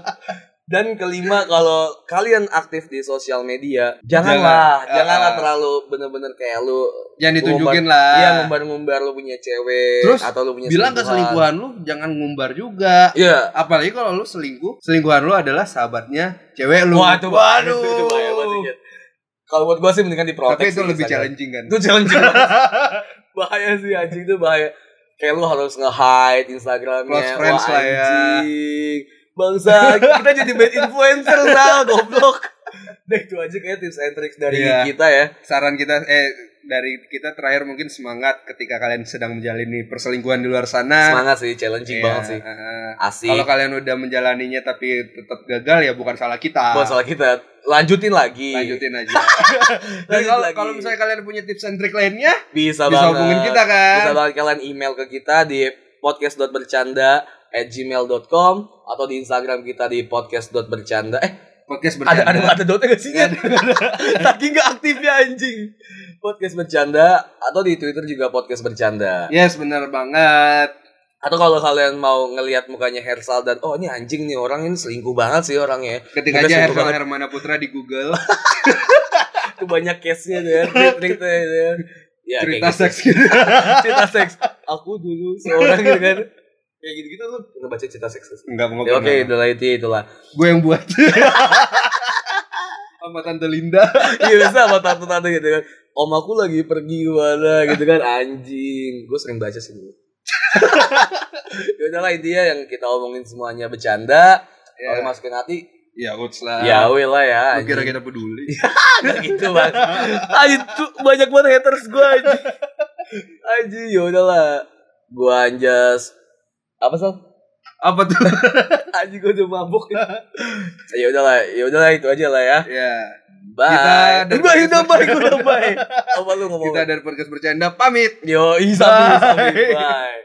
Speaker 1: Dan kelima kalau kalian aktif di sosial media, janganlah,
Speaker 2: Jangan.
Speaker 1: janganlah
Speaker 2: Ah.
Speaker 1: terlalu bener-bener kayak lu
Speaker 2: Jangan ditunjukin
Speaker 1: Iya
Speaker 2: lah.
Speaker 1: ngumbar-ngumbar lu punya cewek
Speaker 2: Ah. Terus,
Speaker 1: atau lu punya
Speaker 2: Bilang ke selingkuhan lu jangan ngumbar juga.
Speaker 1: Iya.
Speaker 2: Apalagi kalau lu selingkuh, selingkuhan lu adalah sahabatnya cewek lu.
Speaker 1: Waduh,
Speaker 2: Waduh.
Speaker 1: <laughs> itu- itu bahaya banget, Inget. Kalau buat gua sih mendingan diprotek.
Speaker 2: Tapi itu
Speaker 1: sih,
Speaker 2: lebih
Speaker 1: misalnya.
Speaker 2: challenging kan.
Speaker 1: Itu challenging. banget. <laughs> bahaya sih anjing itu bahaya. Kayak lu harus nge-hide Instagramnya.
Speaker 2: Close friends
Speaker 1: Wah,
Speaker 2: lah ya.
Speaker 1: anjing. Bangsa, kita jadi bad influencer lah, goblok. Deh, itu aja kayak tips and tricks dari
Speaker 2: Iya.
Speaker 1: kita ya.
Speaker 2: Saran kita eh dari kita terakhir mungkin semangat ketika kalian sedang menjalani perselingkuhan di luar sana.
Speaker 1: Semangat sih, challenging
Speaker 2: Nah. Iya,
Speaker 1: banget sih.
Speaker 2: heeh.
Speaker 1: Asik.
Speaker 2: Kalau kalian udah menjalaninya tapi tetap gagal ya bukan salah kita.
Speaker 1: Buat salah kita lanjutin lagi.
Speaker 2: Lanjutin
Speaker 1: <laughs>
Speaker 2: aja. Dan
Speaker 1: Lanjut
Speaker 2: kalau
Speaker 1: lagi.
Speaker 2: kalau misalnya kalian punya tips and trick lainnya,
Speaker 1: bisa,
Speaker 2: bisa
Speaker 1: banget.
Speaker 2: hubungin kita kan.
Speaker 1: Bisa banget kalian email ke kita di podcast.bercanda at gmail.com atau di Instagram kita di podcast.bercanda. Eh,
Speaker 2: Podcast
Speaker 1: ada
Speaker 2: bercanda.
Speaker 1: ada ada dotnya gak sih kan? <laughs> Saking gak aktifnya anjing. Podcast bercanda atau di Twitter juga podcast bercanda.
Speaker 2: Yes, benar banget.
Speaker 1: Atau kalau kalian mau ngelihat mukanya Hersal dan oh ini anjing nih orang ini selingkuh banget sih Ya, orangnya.
Speaker 2: Ketika
Speaker 1: Mungkin
Speaker 2: aja
Speaker 1: seru
Speaker 2: Hersal
Speaker 1: banget.
Speaker 2: Hermana Putra di
Speaker 1: <laughs>
Speaker 2: Google
Speaker 1: Itu banyak case-nya tuh ya, trik-triknya tuh ya. Ya, kayak
Speaker 2: cerita
Speaker 1: gitu.
Speaker 2: seks gitu.
Speaker 1: <laughs> cerita seks. Aku dulu seorang gitu kan. Kayak gitu-gitu lu pernah baca cerita seks. gak sih?
Speaker 2: Enggak mau
Speaker 1: Ya, Oke, itulah itu itulah.
Speaker 2: Gue yang buat. <laughs> Sama Tante
Speaker 1: <laughs>
Speaker 2: Linda.
Speaker 1: Iya bisa sama tante-tante gitu kan. Om aku lagi pergi kemana gitu kan anjing. Gue sering baca sih dulu. ya udahlah intinya yang kita omongin semuanya bercanda. Kalau
Speaker 2: Ya,
Speaker 1: masukin hati,
Speaker 2: ya uts lah.
Speaker 1: ya weh lah ya.
Speaker 2: Lu
Speaker 1: anjing.
Speaker 2: kira kita peduli.
Speaker 1: Nggak <laughs> gitu bang. Anjing tuh banyak banget haters gue anjing. Anjing ya udahlah. Gue anjas. Apa sih?
Speaker 2: Apa
Speaker 1: <laughs>
Speaker 2: tuh?
Speaker 1: Anjing gue udah mabuk. ya udahlah, ya udahlah itu aja lah ya.
Speaker 2: ya,
Speaker 1: Bye.
Speaker 2: Kita-
Speaker 1: Bye, udah bye, udah bye. Apa lu ngomong?
Speaker 2: kita dari podcast bercanda pamit.
Speaker 1: Yo, isabi, isabi,
Speaker 2: Bye.
Speaker 1: bye.